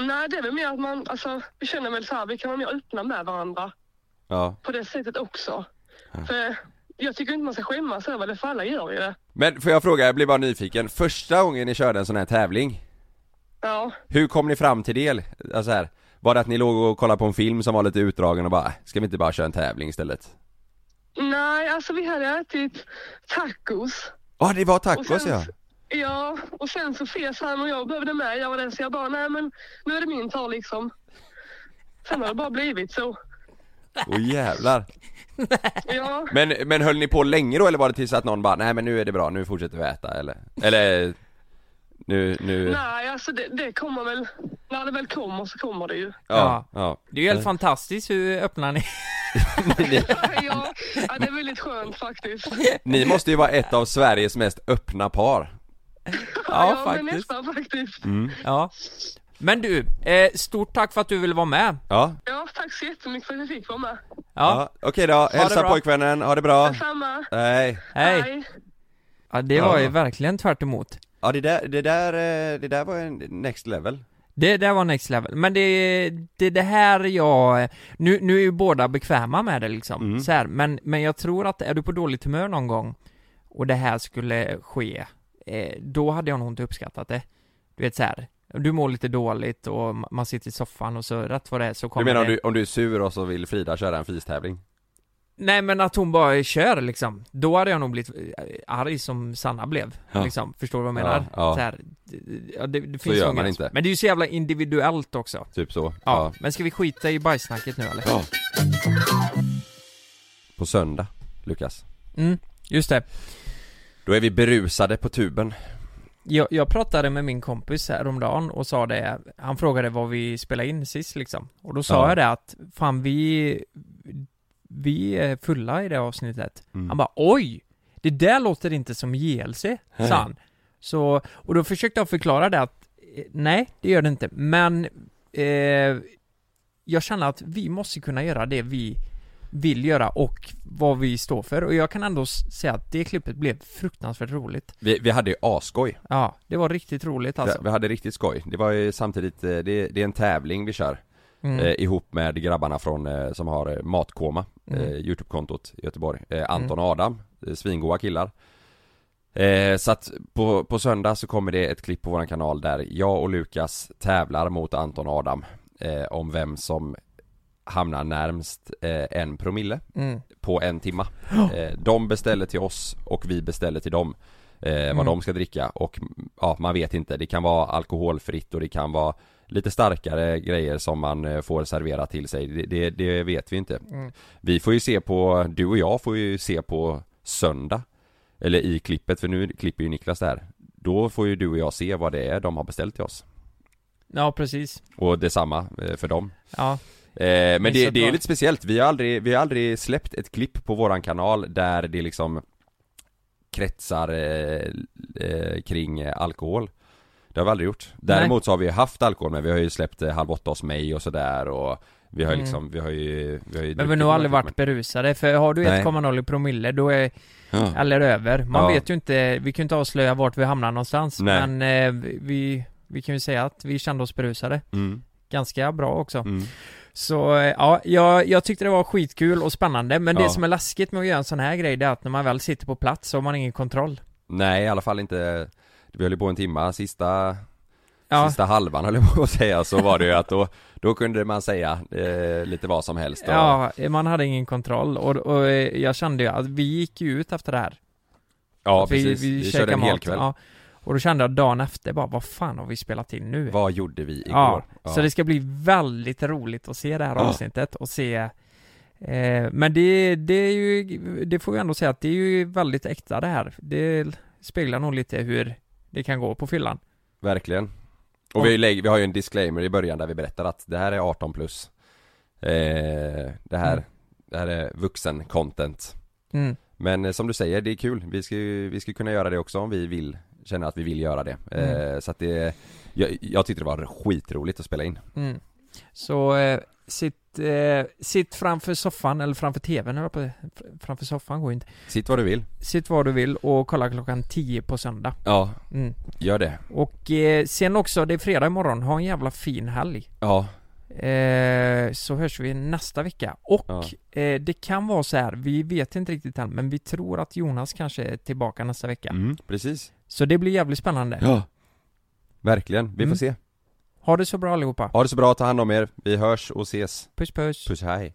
H: nej det är väl mer att man, alltså, vi känner väl så här, vi kan vara mer öppna med varandra
C: Ja.
H: på det sättet också. För jag tycker inte man ska skämmas över det, för alla gör ju det.
C: Men får jag fråga, jag blir bara nyfiken. Första gången ni körde en sån här tävling,
H: Ja,
C: hur kom ni fram till det? Alltså här, var det att ni låg och kollade på en film som var lite utdragen och bara, "Äh, ska vi inte bara köra en tävling istället?
H: nej, alltså vi hade ätit tacos.
C: Ja, det var
H: Och
C: tacos
H: sen-
C: ja.
H: Ja, och sen så fes han och jag behövde med. Jag var den så jag bara, nej men nu är det min tur liksom. Sen har det bara blivit så.
C: Åh jävlar.
H: Ja,
C: Men, men höll ni på länge då eller var det tills att någon bara, nej men nu är det bra, nu fortsätter vi äta eller? Eller, nu, nu,
H: nej alltså det, det kommer väl, när det väl kommer så kommer det ju.
C: ja, ja.
E: Det är ju helt fantastiskt hur öppnar ni?
H: Ja, ja det är väldigt skönt faktiskt.
C: Ni måste ju vara ett av Sveriges mest öppna par.
E: Ja,
H: men
E: faktiskt.
H: nästan faktiskt.
E: Ja. Men du, eh, stort tack för att du ville vara med.
C: Ja,
H: Ja, tack så jättemycket för att jag fick vara med.
E: Ja,
C: ja. okej då,
E: det
C: hälsa
E: bra.
C: pojkvännen, ha det bra.
H: Detsamma.
C: Nej.
E: hej. Ja, det var ju verkligen tvärt emot.
C: Ja det där, det där, eh, det där var en next level.
E: Det där var next level, men det är det, det här jag... Nu, nu är ju båda bekväma med det liksom,
C: Mm.
E: så här, men, men jag tror att är du på dåligt humör någon gång och det här skulle ske, eh, då hade jag nog inte uppskattat det. Du vet så här. du mår lite dåligt och ma- man sitter i soffan och så rätt vad det är så
C: Du
E: kommer
C: menar om
E: det...
C: du, om du är sur och så vill Frida köra en fistävling?
E: Nej men att hon bara kör liksom, då hade jag nog blivit eh, arg som Sanna blev,
C: Ja.
E: liksom, förstår du vad jag menar?
C: Ja, ja.
E: Så här, d- d- ja, det, det finns
C: gör
E: någon
C: man
E: gräns.
C: inte.
E: Men det är ju så jävla individuellt också.
C: Typ så?
E: Ja, men ska vi skita i bajsnacket nu eller?
C: Ja. På söndag, Lukas.
E: Mm, just det.
C: Då är vi berusade på tuben.
E: Jag, jag pratade med min kompis häromdagen och sa det, han frågade vad vi spelade in sist liksom. Och då sa
C: Ja.
E: jag det att, fan vi, vi är fulla i det avsnittet. Han bara, oj! Det där låter inte som JLC, sa han. Så, och då försökte jag förklara det att, eh, nej det gör det inte, men eh, jag känner att vi måste kunna göra det vi vill göra och vad vi står för. Och jag kan ändå s- säga att det klippet blev fruktansvärt roligt.
C: Vi, vi hade ju asskoj.
E: Ja, det var riktigt roligt alltså.
C: Vi, vi hade riktigt skoj. Det var ju samtidigt, eh, det, det är en tävling vi kör.
E: Mm.
C: Eh, ihop med grabbarna från, eh, som har eh, Matkoma, eh,
E: Mm.
C: Youtube-kontot i Göteborg. Eh, Anton och Adam, eh, svingoa killar. Eh, så att på, på söndag så kommer det ett klipp på våran kanal där jag och Lukas tävlar mot Anton och Adam eh, om vem som hamnar närmst eh, en promille
E: Mm.
C: på en timma. Eh, de beställer till oss och vi beställer till dem eh, vad
E: Mm.
C: de ska dricka och mm, ja, man vet inte. Det kan vara alkoholfritt och det kan vara lite starkare grejer som man eh, får servera till sig. Det, det, det vet vi inte. Vi får ju se på, du och jag får ju se på söndag eller i klippet, för nu klipper ju Niklas där. Då får ju du och jag se vad det är de har beställt till oss.
E: Ja, precis.
C: Och detsamma eh, för dem.
E: Ja.
C: Eh, men det,
E: Missat
C: det är
E: då.
C: lite speciellt, vi har, aldrig, vi har aldrig släppt ett klipp på våran kanal där det liksom kretsar eh, eh, kring eh, alkohol Det har vi aldrig gjort. Däremot så har vi haft alkohol men vi har ju släppt eh, Halv åtta hos mig och sådär och Vi har ju
E: Mm.
C: liksom, vi har ju, vi har ju
E: Men vi
C: druckit
E: har nog
C: några
E: aldrig
C: gånger.
E: varit berusade, för har du
C: Nej.
E: 1,0 i promille då är,
C: Ja.
E: eller över. Man
C: Ja.
E: vet ju inte, vi kan ju inte avslöja vart vi hamnar någonstans.
C: Nej.
E: Men eh, vi- vi, vi kan ju säga att vi kände oss berusade.
C: Mm.
E: Ganska bra också.
C: Mm.
E: Så eh, ja, jag, jag tyckte det var skitkul och spännande. Men
C: Ja.
E: det som är läskigt med att göra en sån här grej, det är att när man väl sitter på plats så har man ingen kontroll.
C: Nej, i alla fall inte Vi höll ju på en timma, sista
E: Ja.
C: Sista halvan höll jag på att säga så var det ju att då, då kunde man säga eh, lite vad som helst och,
E: Ja, man hade ingen kontroll och, och eh, jag kände ju att vi gick ju ut efter det här.
C: Ja,
E: vi,
C: precis. Vi körde
E: käkade
C: en hel
E: mat,
C: kväll.
E: Ja. Och då kände jag dagen efter bara, vad fan har vi spelat in nu?
C: Vad gjorde vi igår?
E: Ja,
C: Ja.
E: så det ska bli väldigt roligt att se det här
C: Ja.
E: avsnittet och se eh, Men det, det är ju, det får vi ändå säga att det är ju väldigt äkta det här. Det speglar nog lite hur det kan gå på fyllan.
C: Verkligen Och vi, lägger, vi har ju en disclaimer i början där vi berättar att det här är 18 plus eh, Det här,
E: Mm.
C: det här är vuxen content
E: Mm.
C: Men eh, som du säger, det är kul. Vi ska, ju- vi ska kunna göra det också om vi vill Känner att vi vill göra det.
E: Mm.
C: Eh, så att det jag, jag tyckte det var skitroligt att spela in.
E: Mm. Så eh, sitt, eh, sitt framför soffan, eller framför tvn, eller på, framför soffan går ju inte.
C: Sitt var du vill.
E: Sitt var du vill och kolla klockan 10 på söndag.
C: Ja,
E: Mm.
C: gör det.
E: Och eh, sen också, det är fredag imorgon, ha en jävla fin helg.
C: Ja,
E: Eh, så hörs vi nästa vecka. Och
C: Ja.
E: eh, det kan vara så här, vi vet inte riktigt än, men vi tror att Jonas kanske är tillbaka nästa vecka.
C: mm, precis.
E: Så det blir jävligt spännande.
C: Ja. Verkligen. Vi får
E: Mm.
C: se.
E: Ha det så bra allihopa.
C: Ha det så bra, ta hand om er. Vi hörs och ses.
E: Puss puss.
C: Puss hej.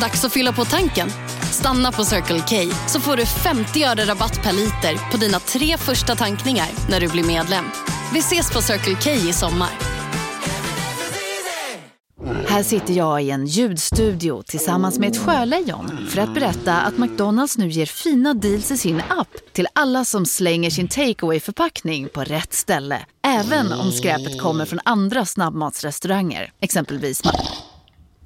I: Dags att fylla på tanken. Stanna på Circle K så får du 50 öre rabatt per liter på dina tre första tankningar när du blir medlem. Vi ses på Circle K i sommar.
J: Här sitter jag i en ljudstudio tillsammans med ett sjölejon för att berätta att McDonalds nu ger fina deals i sin app till alla som slänger sin takeaway förpackning på rätt ställe. Även om skräpet kommer från andra snabbmatsrestauranger, exempelvis Ma-